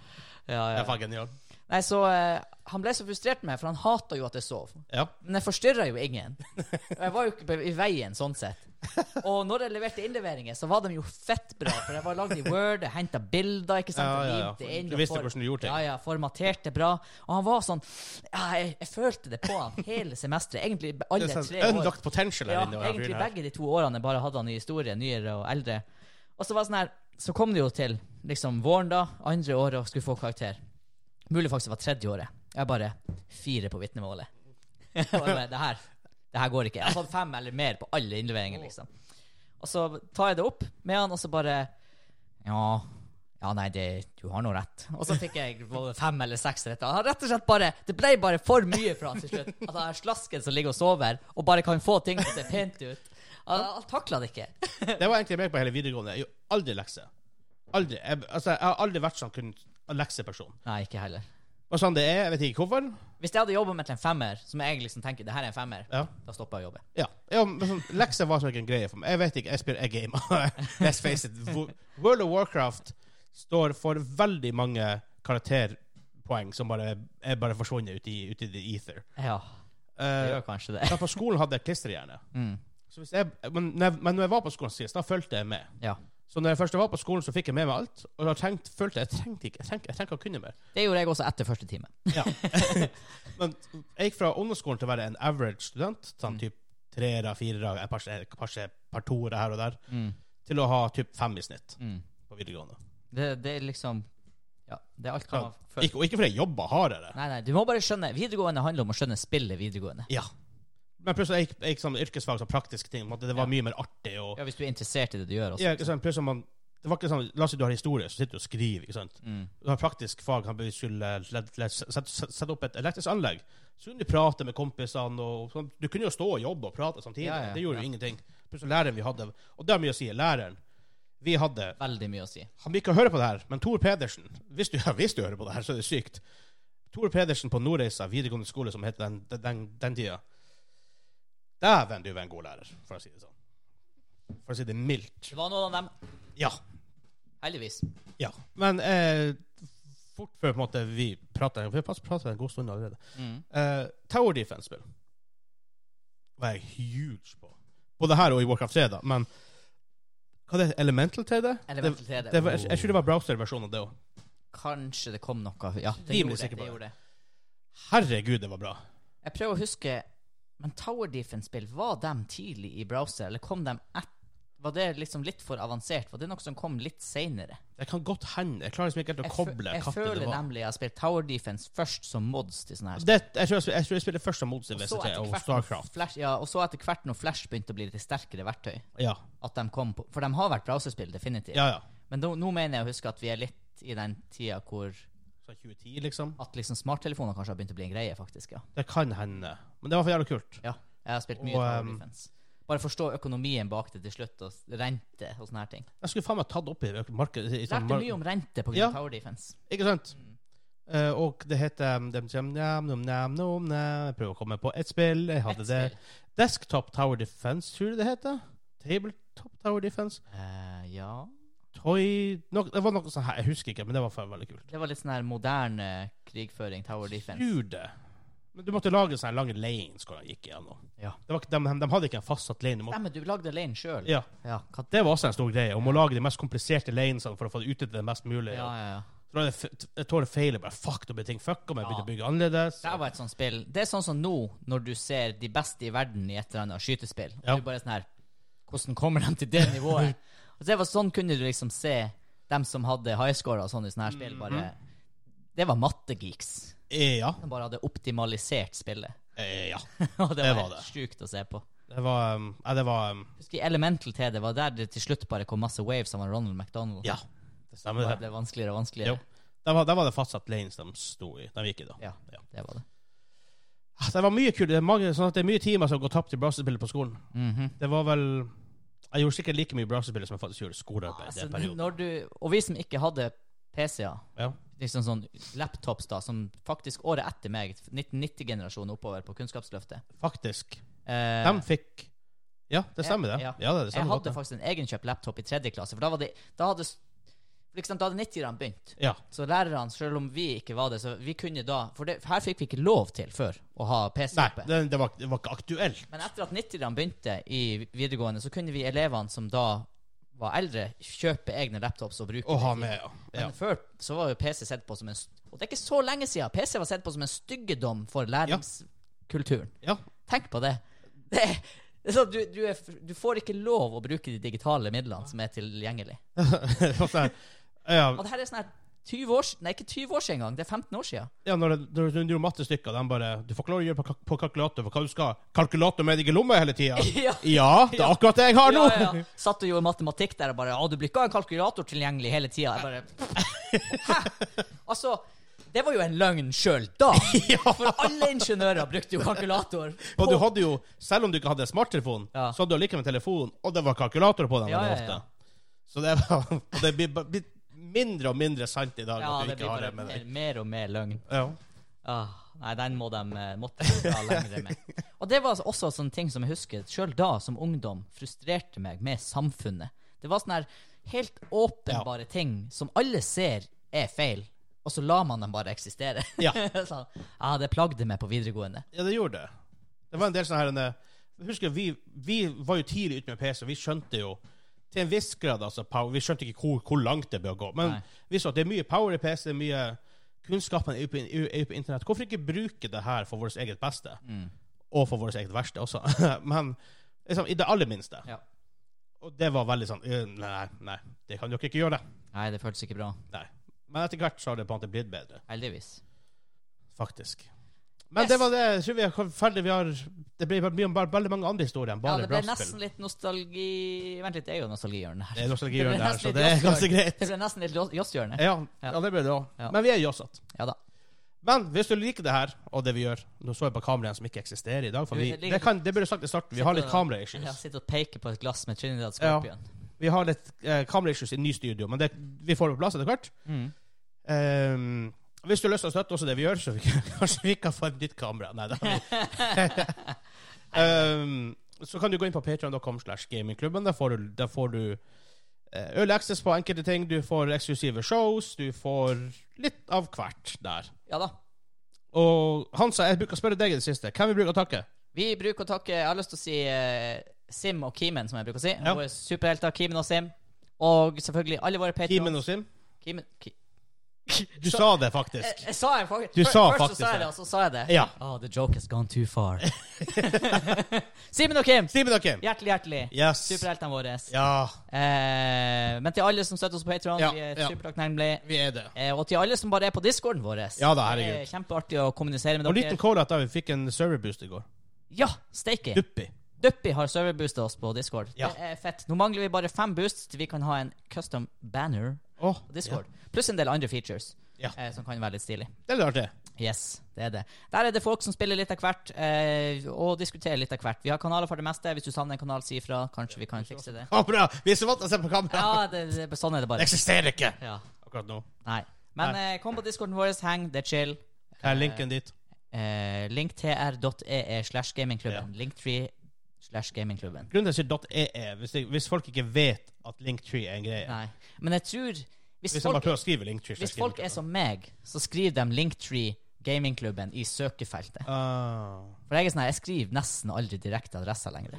[SPEAKER 2] Ja,
[SPEAKER 1] Det
[SPEAKER 2] ja.
[SPEAKER 1] er faen genial.
[SPEAKER 2] Nei, så eh, Han ble så frustrert med meg, for han hata jo at jeg sov.
[SPEAKER 1] Ja.
[SPEAKER 2] Men jeg forstyrra jo ingen. Og jeg var jo ikke i veien, sånn sett. Og når jeg leverte innleveringer, så var de jo fett bra. For jeg var lagd i Word, jeg henta bilder, ikke sant.
[SPEAKER 1] Ja,
[SPEAKER 2] og
[SPEAKER 1] ja, ja.
[SPEAKER 2] limte inn,
[SPEAKER 1] Du
[SPEAKER 2] og
[SPEAKER 1] visste
[SPEAKER 2] for-
[SPEAKER 1] hvordan du gjorde ting.
[SPEAKER 2] Ja, ja. Formaterte bra. Og han var sånn ja, jeg, jeg følte det på han hele semesteret. Egentlig alle
[SPEAKER 1] Det er
[SPEAKER 2] tre
[SPEAKER 1] sånn
[SPEAKER 2] år.
[SPEAKER 1] unlocked potential her
[SPEAKER 2] Ja,
[SPEAKER 1] inne. og den
[SPEAKER 2] egentlig
[SPEAKER 1] fyren her.
[SPEAKER 2] begge de to årene jeg bare hadde han i historie, nyere og eldre. Og så var det sånn her, så kom det jo til liksom våren da, andre året og skulle få karakter. Mulig faktisk det var tredje året. Jeg bare fire på vitnemålet. Jeg bare, det her, det her går ikke. Jeg har fått fem eller mer på alle innleveringer, liksom. Og så tar jeg det opp med han, og så bare, ja... Ja, nei, det, du har nå rett. Og så fikk jeg både fem eller seks rett. Han rett og slett bare, Det ble bare for mye for han til slutt. At han er slasken som ligger og sover, og bare kan få ting som ser pent ut. Han, han takla det ikke.
[SPEAKER 1] Det var egentlig meg på hele videregående. Jeg gjorde aldri lekser. Aldri. Jeg, altså, jeg har aldri vært sånn kun lekseperson.
[SPEAKER 2] Nei, ikke heller.
[SPEAKER 1] Og sånn det er, jeg vet ikke hvorfor.
[SPEAKER 2] Hvis jeg hadde jobba med til en femmer, som jeg liksom tenker det her er en femmer,
[SPEAKER 1] Ja.
[SPEAKER 2] da stopper jeg å jobbe.
[SPEAKER 1] Ja. ja men sånn, lekser var sånn ikke en greie for meg. Jeg vet ikke, jeg spiller jeg gamer. Let's face it. Wo- World of Warcraft står for veldig mange karakterpoeng som bare er bare forsvunnet ut i, ut i the ether.
[SPEAKER 2] Ja, det
[SPEAKER 1] Eh,
[SPEAKER 2] gjør kanskje det.
[SPEAKER 1] da på skolen hadde jeg klisterhjerne.
[SPEAKER 2] Mm.
[SPEAKER 1] Så hvis jeg, men, når jeg, men når jeg var på skolen sist, da fulgte jeg med.
[SPEAKER 2] Ja.
[SPEAKER 1] Så når jeg først var på skolen, så fikk jeg med meg alt. Og da tenkte, følte jeg jeg trengte ikke, jeg trengte, jeg trengte å kunne mer.
[SPEAKER 2] Det gjorde jeg også etter første time.
[SPEAKER 1] Ja. Men jeg gikk fra ungdomsskolen til å være en average student, sånn typ treere, firere, et par, et par, et par toere her og der, til å ha typ fem i snitt
[SPEAKER 2] Mm.
[SPEAKER 1] på videregående.
[SPEAKER 2] Det, det er liksom Ja, det er alt hva man føler.
[SPEAKER 1] Ikke, og ikke fordi jeg jobba hardere.
[SPEAKER 2] Nei, nei, du må bare skjønne Videregående handler om å skjønne spillet videregående.
[SPEAKER 1] Ja. Men plutselig jeg gikk, jeg gikk sånn yrkesfag som praktiske ting. på en måte. Det var
[SPEAKER 2] Ja.
[SPEAKER 1] mye mer artig. Og,
[SPEAKER 2] Ja, Hvis du er interessert i det du gjør. Også.
[SPEAKER 1] ja, ikke sant? Plutselig man, det var ikke sånn, La oss si du har historie, så sitter du og skriver. ikke sant?
[SPEAKER 2] Mm.
[SPEAKER 1] Du har praktisk fag, kan vi skulle eh, let- let- sette sette opp et elektrisk anlegg. Så kunne du prate med kompisene. Og, sånn. Du kunne jo stå og jobbe og prate samtidig.
[SPEAKER 2] Ja, ja,
[SPEAKER 1] det gjorde
[SPEAKER 2] ja.
[SPEAKER 1] jo ingenting. Plutselig læreren vi hadde, og det har mye å si, læreren vi hadde
[SPEAKER 2] Veldig mye å si.
[SPEAKER 1] Han vil ikke høre på det her, men Tor Pedersen Hvis du, hvis du hører på det her, så er det sykt. Tor Pedersen på Nordreisa videregående skole, som het den, den, den, den tida Dæven, du var en god lærer, for å si det sånn. For å si det mildt.
[SPEAKER 2] Det var noen av dem,
[SPEAKER 1] Ja.
[SPEAKER 2] heldigvis.
[SPEAKER 1] Ja. Men eh, fort før på en måte vi prater Vi har pratet en god stund allerede.
[SPEAKER 2] Mm.
[SPEAKER 1] Eh, Tower Defense-spill var jeg huge på. Både her og i Warcraft 3, da. Men hva det er Elemental til det?
[SPEAKER 2] Elemental
[SPEAKER 1] det,
[SPEAKER 2] 3D.
[SPEAKER 1] det var, jeg, jeg tror det var browser-versjonen av det òg.
[SPEAKER 2] Kanskje det kom noe Ja, det
[SPEAKER 1] Rimelig
[SPEAKER 2] gjorde det.
[SPEAKER 1] sikker på
[SPEAKER 2] det
[SPEAKER 1] det.
[SPEAKER 2] gjorde det.
[SPEAKER 1] Herregud, det var bra.
[SPEAKER 2] Jeg prøver å huske Men Tower Defense-spill, var de tidlig i browser, eller kom de et, Var det liksom litt for avansert? Var det noe som kom litt seinere?
[SPEAKER 1] Det kan godt hende. Jeg klarer liksom ikke helt å
[SPEAKER 2] Jeg, fø-
[SPEAKER 1] koble
[SPEAKER 2] jeg
[SPEAKER 1] hva det
[SPEAKER 2] føler
[SPEAKER 1] var.
[SPEAKER 2] nemlig jeg har spilt Tower Defense først som mods til sånne her
[SPEAKER 1] Det, jeg, tror jeg, spil- jeg tror jeg spiller først som mot
[SPEAKER 2] Og
[SPEAKER 1] CVC
[SPEAKER 2] så etter
[SPEAKER 1] og
[SPEAKER 2] hvert når
[SPEAKER 1] Starcraft.
[SPEAKER 2] Flash, ja, og så etter hvert når Flash begynte å bli litt sterkere verktøy,
[SPEAKER 1] Ja,
[SPEAKER 2] at de kom på For de har vært browserspill, definitivt.
[SPEAKER 1] ja. ja.
[SPEAKER 2] Men nå- nå mener jeg å huske at vi er litt i den tida hvor
[SPEAKER 1] Så 2010, liksom.
[SPEAKER 2] At liksom smarttelefoner kanskje har begynt å bli en greie, faktisk. Ja.
[SPEAKER 1] Det kan hende. Men det var for jævlig kult.
[SPEAKER 2] ja jeg har spilt mye
[SPEAKER 1] Og,
[SPEAKER 2] Tower
[SPEAKER 1] ehm,
[SPEAKER 2] Defense. Bare forstå økonomien bak det til slutt, og s- rente og sånne her ting.
[SPEAKER 1] Jeg skulle faen meg tatt opp i markedet. i sånn
[SPEAKER 2] Lærte
[SPEAKER 1] mar-
[SPEAKER 2] mye om Mm. rente på grunn
[SPEAKER 1] Ja.
[SPEAKER 2] av Tower Defense.
[SPEAKER 1] Ikke sant? Eh, og det heter um, dem som- nam, nom, nam, nom, nam. Jeg prøver å komme på ett spill. Jeg hadde
[SPEAKER 2] Ett
[SPEAKER 1] det.
[SPEAKER 2] spill.
[SPEAKER 1] Desktop Tower Defense, tror jeg det heter. Tabletop Tower Defense.
[SPEAKER 2] Eh, ja
[SPEAKER 1] Toy no, Det var noe sånn her, jeg husker ikke, men det var faen veldig kult.
[SPEAKER 2] Det var litt sånn her moderne krigføring, Tower Defense.
[SPEAKER 1] Tror det. Men du måtte lage sånn sånne lange lanes hvor han gikk igjennom.
[SPEAKER 2] Ja.
[SPEAKER 1] Det var, ikke- de, de hadde ikke en fastsatt lane. Du måtte,
[SPEAKER 2] Stemmer, du lagde lane sjøl?
[SPEAKER 1] ja,
[SPEAKER 2] Ja, hva-
[SPEAKER 1] det var også en stor greie, om å lage de mest kompliserte lanesene for å få det ut til det mest mulig.
[SPEAKER 2] ja, ja, ja.
[SPEAKER 1] Så da er det f- Jeg tror det feiler bare. Fuck, da blir ting fucka, men jeg
[SPEAKER 2] Ja.
[SPEAKER 1] begynte å bygge annerledes.
[SPEAKER 2] Det var et sånt spill. Det er sånn som nå, når du ser de beste i verden i et eller annet skytespill.
[SPEAKER 1] Ja.
[SPEAKER 2] Og du bare er sånn her Hvordan kommer de til det nivået? og så det var Sånn kunne du liksom se dem som hadde high score og sånn i sånne her
[SPEAKER 1] Mm,
[SPEAKER 2] spill, bare Det var mattegeeks.
[SPEAKER 1] Eh, Ja.
[SPEAKER 2] De bare hadde optimalisert spillet.
[SPEAKER 1] Eh, ja.
[SPEAKER 2] og det
[SPEAKER 1] Det
[SPEAKER 2] var
[SPEAKER 1] var
[SPEAKER 2] helt sjukt å se på.
[SPEAKER 1] Det var um, Ja, det var um,
[SPEAKER 2] Husker jeg Elemental TD det var der det til slutt bare kom masse waves av Ronald McDonald.
[SPEAKER 1] Ja, det stemmer
[SPEAKER 2] Og det
[SPEAKER 1] det.
[SPEAKER 2] ble vanskeligere og
[SPEAKER 1] Jo.
[SPEAKER 2] vanskeligere.
[SPEAKER 1] Der var, der var det fastsatt lanes de sto i. De gikk i, da.
[SPEAKER 2] Ja. Det var det.
[SPEAKER 1] Ah, Det var mye kult. Det er, mange, sånn at det er mye timer som går tapt i browserspillet på skolen.
[SPEAKER 2] Mhm.
[SPEAKER 1] Det var vel Jeg gjorde sikkert like mye browserspillet som jeg faktisk gjorde skolearbeid. i
[SPEAKER 2] altså,
[SPEAKER 1] den perioden.
[SPEAKER 2] når du, og vi som ikke hadde PC-er,
[SPEAKER 1] Ja.
[SPEAKER 2] liksom sånn laptops da, som faktisk året etter meg, 1990-generasjonen oppover på Kunnskapsløftet
[SPEAKER 1] Faktisk.
[SPEAKER 2] eh,
[SPEAKER 1] De fikk Ja, det stemmer, det.
[SPEAKER 2] Ja.
[SPEAKER 1] Ja, det, er det
[SPEAKER 2] Jeg
[SPEAKER 1] stemmer
[SPEAKER 2] hadde
[SPEAKER 1] godt, det.
[SPEAKER 2] faktisk en egenkjøpt laptop i tredje klasse, for da, var det, da hadde s- for eksempel, da hadde 90-erne begynt.
[SPEAKER 1] Ja.
[SPEAKER 2] Så lærerne, selv om vi ikke var det, så vi kunne da For det, her fikk vi ikke lov til før å ha PC
[SPEAKER 1] Nei,
[SPEAKER 2] oppe.
[SPEAKER 1] det, det, var, det var ikke aktuelt.
[SPEAKER 2] Men etter at 90-erne begynte i videregående, så kunne vi elevene som da var eldre, kjøpe egne laptops og bruke
[SPEAKER 1] Å ha
[SPEAKER 2] til-
[SPEAKER 1] med, ja. ja.
[SPEAKER 2] Men før så var jo PC sett på som en st- Og det er ikke så lenge siden PC var sett på som en styggedom for læringskulturen.
[SPEAKER 1] ja.
[SPEAKER 2] Tenk på det. det er, det er sånn, du, du, er, f- du får ikke lov å bruke de digitale midlene som er tilgjengelig.
[SPEAKER 1] Sånn der. ja,
[SPEAKER 2] Og det her er sånn her 20 år s- Nei, ikke 20 år siden engang. Det er 15 år siden.
[SPEAKER 1] ja, når, det- når du gjorde mattestykker, de bare 'Du får ikke lov å gjøre på, kalk- på kalkulator, for hva du skal Kalkulator med deg i lomma hele tida?'
[SPEAKER 2] Ja.
[SPEAKER 1] ja, det er akkurat det jeg har nå!
[SPEAKER 2] Ja, ja, ja. Satt og gjorde matematikk der og bare Å, du blir ikke ha en kalkulator tilgjengelig hele tida. Jeg bare Hæ? Altså, det var jo en løgn sjøl da. For alle ingeniører brukte jo kalkulator.
[SPEAKER 1] Og du hadde jo, selv om du ikke hadde smarttelefon,
[SPEAKER 2] Ja.
[SPEAKER 1] så hadde du allikevel telefon, og det var kalkulator på den
[SPEAKER 2] Ja,
[SPEAKER 1] veldig
[SPEAKER 2] ja, ja.
[SPEAKER 1] ofte. Så det var Og det blir ba- blir mindre og mindre sant i dag
[SPEAKER 2] Ja,
[SPEAKER 1] at du
[SPEAKER 2] det
[SPEAKER 1] ikke
[SPEAKER 2] blir
[SPEAKER 1] har
[SPEAKER 2] bare
[SPEAKER 1] det med
[SPEAKER 2] mer,
[SPEAKER 1] deg.
[SPEAKER 2] mer og mer løgn.
[SPEAKER 1] Ja.
[SPEAKER 2] Ah, nei, den må de eh, måtte de dra lengre med. Og det var altså også sånne ting som jeg husker sjøl da, som ungdom, frustrerte meg med samfunnet. Det var sånne her helt åpenbare ting som alle ser er feil, og så lar man dem bare eksistere.
[SPEAKER 1] Ja.
[SPEAKER 2] sånn, ah, det plagde meg på videregående.
[SPEAKER 1] Ja, det gjorde det. Det var en del sånne her en, eh, Husker vi, vi var jo tidlig ute med PC, og vi skjønte jo til en viss grad altså, power, Vi skjønte ikke hvor, hvor langt det bør gå. Men
[SPEAKER 2] Nei.
[SPEAKER 1] vi så at det er mye power i PC, det er mye kunnskapen er jo på, er jo på internett. Hvorfor ikke bruke det her for vårt eget beste?
[SPEAKER 2] Mm.
[SPEAKER 1] Og for vårt eget verste også. Men liksom, i det aller minste.
[SPEAKER 2] Ja.
[SPEAKER 1] Og det var veldig sånn eh, Nei, nei, det kan dere ikke gjøre.
[SPEAKER 2] Nei, det føltes ikke bra.
[SPEAKER 1] Nei. Men etter hvert så har det på en måte blitt bedre.
[SPEAKER 2] Heldigvis.
[SPEAKER 1] Faktisk. Men
[SPEAKER 2] Yes.
[SPEAKER 1] det var det. Jeg tror vi er ferdig. Vi har, det blir bare, mye om bare, veldig mange andre historier enn
[SPEAKER 2] Ja,
[SPEAKER 1] bare
[SPEAKER 2] det ble
[SPEAKER 1] brassspill.
[SPEAKER 2] nesten litt nostalgi Vent litt, det er jo nostalgihjørnet her.
[SPEAKER 1] Det er nostalgi
[SPEAKER 2] Det ble
[SPEAKER 1] rundt her,
[SPEAKER 2] nesten
[SPEAKER 1] så
[SPEAKER 2] litt
[SPEAKER 1] det er ganske greit.
[SPEAKER 2] Det ble nesten litt jo- josshjørne.
[SPEAKER 1] Ja,
[SPEAKER 2] Ja.
[SPEAKER 1] ja, det ble det òg.
[SPEAKER 2] Ja.
[SPEAKER 1] Men vi er jossete.
[SPEAKER 2] Ja da.
[SPEAKER 1] Men hvis du liker det her, og det vi gjør Nå så jeg på kameraene som ikke eksisterer i dag. For
[SPEAKER 2] Jo,
[SPEAKER 1] vi,
[SPEAKER 2] det ligger-
[SPEAKER 1] det, kan, det burde jeg sagt i starten. Vi har litt
[SPEAKER 2] Ja,
[SPEAKER 1] kameraissues.
[SPEAKER 2] Sitter og peker på et glass med Trinidad
[SPEAKER 1] Ja.
[SPEAKER 2] Scorpion.
[SPEAKER 1] Vi har litt eh, kameraissues i ny studio, men det, vi får det på plass etter hvert.
[SPEAKER 2] Mm.
[SPEAKER 1] Ehm, hvis du har lyst til å støtte oss i det vi gjør, så vi, kan- kanskje vi kan få et nytt kamera. Nei, da. Ehm, så kan du gå inn på patreon.com slash gamingklubben. Der får du, der får du eh, early access på enkelte ting. Du får eksklusive shows. Du får litt av hvert der.
[SPEAKER 2] Ja da.
[SPEAKER 1] Og Hansa, jeg bruker å spørre deg i det siste. Hvem vi bruker å takke?
[SPEAKER 2] Vi bruker å takke Jeg har lyst til å si eh, Sim og Kimen, som jeg bruker å si.
[SPEAKER 1] Ja.
[SPEAKER 2] Våre superhelter Kimen og Sim. Og selvfølgelig alle våre patrons.
[SPEAKER 1] Kimen og Sim?
[SPEAKER 2] Kimen Ki
[SPEAKER 1] Du sa det
[SPEAKER 2] jeg,
[SPEAKER 1] faktisk.
[SPEAKER 2] jeg sa jeg faktisk
[SPEAKER 1] Du
[SPEAKER 2] Før-
[SPEAKER 1] sa
[SPEAKER 2] Først
[SPEAKER 1] faktisk
[SPEAKER 2] så sa
[SPEAKER 1] det.
[SPEAKER 2] jeg det, og så sa jeg det.
[SPEAKER 1] Ja.
[SPEAKER 2] Oh, the joke has gone too far. Simen og Kim,
[SPEAKER 1] Simen og Kim.
[SPEAKER 2] hjertelig, hjertelig.
[SPEAKER 1] Yes.
[SPEAKER 2] Superheltene våre.
[SPEAKER 1] Ja,
[SPEAKER 2] Eh, men til alle som støtter oss på Patron,
[SPEAKER 1] Ja,
[SPEAKER 2] vi er
[SPEAKER 1] ja.
[SPEAKER 2] supertakknemlige.
[SPEAKER 1] vi er det.
[SPEAKER 2] Eh, og til alle som bare er på discorden vår.
[SPEAKER 1] Ja da,
[SPEAKER 2] Det er
[SPEAKER 1] herregud.
[SPEAKER 2] kjempeartig å kommunisere med
[SPEAKER 1] Og
[SPEAKER 2] Eh, dere.
[SPEAKER 1] liten call at da vi fikk en serverboost i går.
[SPEAKER 2] Ja, steike.
[SPEAKER 1] Duppi.
[SPEAKER 2] Duppy har serverboosta oss på Discord.
[SPEAKER 1] Ja.
[SPEAKER 2] Det er fett. Nå mangler vi bare fem boosts til vi kan ha en custom banner
[SPEAKER 1] Åh,
[SPEAKER 2] på Discord. Pluss en del andre features
[SPEAKER 1] Ja.
[SPEAKER 2] eh, som kan være litt stilig.
[SPEAKER 1] Det er litt artig.
[SPEAKER 2] Yes, det er det. Der er det folk som spiller litt av hvert, eh, og diskuterer litt av hvert. Vi har kanaler for det meste. Hvis du savner en kanal, si ifra. Kanskje vi kan fikse det.
[SPEAKER 1] Kamera! Vi er så vant til å se på kamera.
[SPEAKER 2] Ja, det, det, sånn er det
[SPEAKER 1] Det
[SPEAKER 2] bare.
[SPEAKER 1] eksisterer ikke
[SPEAKER 2] Ja.
[SPEAKER 1] akkurat nå.
[SPEAKER 2] Nei. Men eh, kom på discorden vår, heng, det er chill.
[SPEAKER 1] Her er linken dit.
[SPEAKER 2] Eh, linktr.ee slash gamingklubben. Linktree slash gamingklubben.
[SPEAKER 1] Grunnen til at jeg sier .ee, hvis, jeg- hvis folk ikke vet at linktree er en greie
[SPEAKER 2] Nei. Men jeg tror
[SPEAKER 1] Hvis
[SPEAKER 2] Hvis,
[SPEAKER 1] de bare
[SPEAKER 2] folk,
[SPEAKER 1] prøver å skrive linktree så
[SPEAKER 2] hvis
[SPEAKER 1] skriver
[SPEAKER 2] folk
[SPEAKER 1] de
[SPEAKER 2] er
[SPEAKER 1] det.
[SPEAKER 2] som meg, så skriver de Linktree Gamingklubben i søkefeltet.
[SPEAKER 1] ah,
[SPEAKER 2] For jeg er sånn her, jeg skriver nesten aldri direkte adresser lenger.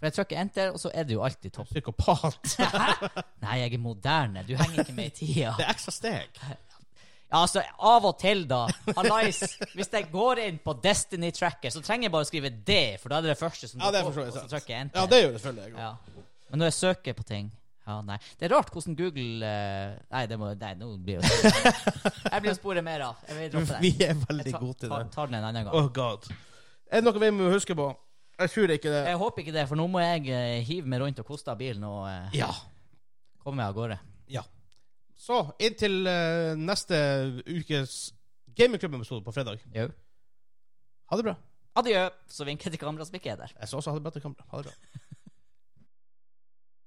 [SPEAKER 2] For jeg trykker enter, og så er det jo alltid topp.
[SPEAKER 1] Psykopat.
[SPEAKER 2] Nei, jeg er moderne. Du henger ikke med i tida.
[SPEAKER 1] Det er ekstra steg.
[SPEAKER 2] Ja, altså, av og til, da. Hallais. Hvis jeg går inn på Destiny Tracker, så trenger jeg bare å skrive D, for da er det det første som
[SPEAKER 1] Ja, det
[SPEAKER 2] dukker
[SPEAKER 1] forstår
[SPEAKER 2] opp,
[SPEAKER 1] jeg.
[SPEAKER 2] og så trykker jeg enter.
[SPEAKER 1] Ja, det gjør det selvfølgelig jeg også.
[SPEAKER 2] Ja. Men når jeg søker på ting ja, nei. Det er rart hvordan Google eh, Nei, det må, nei nå blir jeg jo Jeg blir å spore mer av. Jeg vil droppe den.
[SPEAKER 1] Vi er veldig
[SPEAKER 2] Jeg tar-
[SPEAKER 1] gode til
[SPEAKER 2] tar-
[SPEAKER 1] det.
[SPEAKER 2] Tar den en annen gang.
[SPEAKER 1] Oh god. Er det noe vi må huske på? Jeg tror ikke det.
[SPEAKER 2] Jeg håper ikke det, for nå må jeg eh, hive meg rundt og koste av bilen og eh,
[SPEAKER 1] Ja.
[SPEAKER 2] komme meg av gårde.
[SPEAKER 1] ja. Så inntil eh, neste ukes Gamingklubben-episode på fredag.
[SPEAKER 2] Jo.
[SPEAKER 1] Ha det bra.
[SPEAKER 2] Adjø. Så vinker jeg til kameraet som ikke er der.
[SPEAKER 1] Jeg skal også ha det bra til kamera. Ha det bra.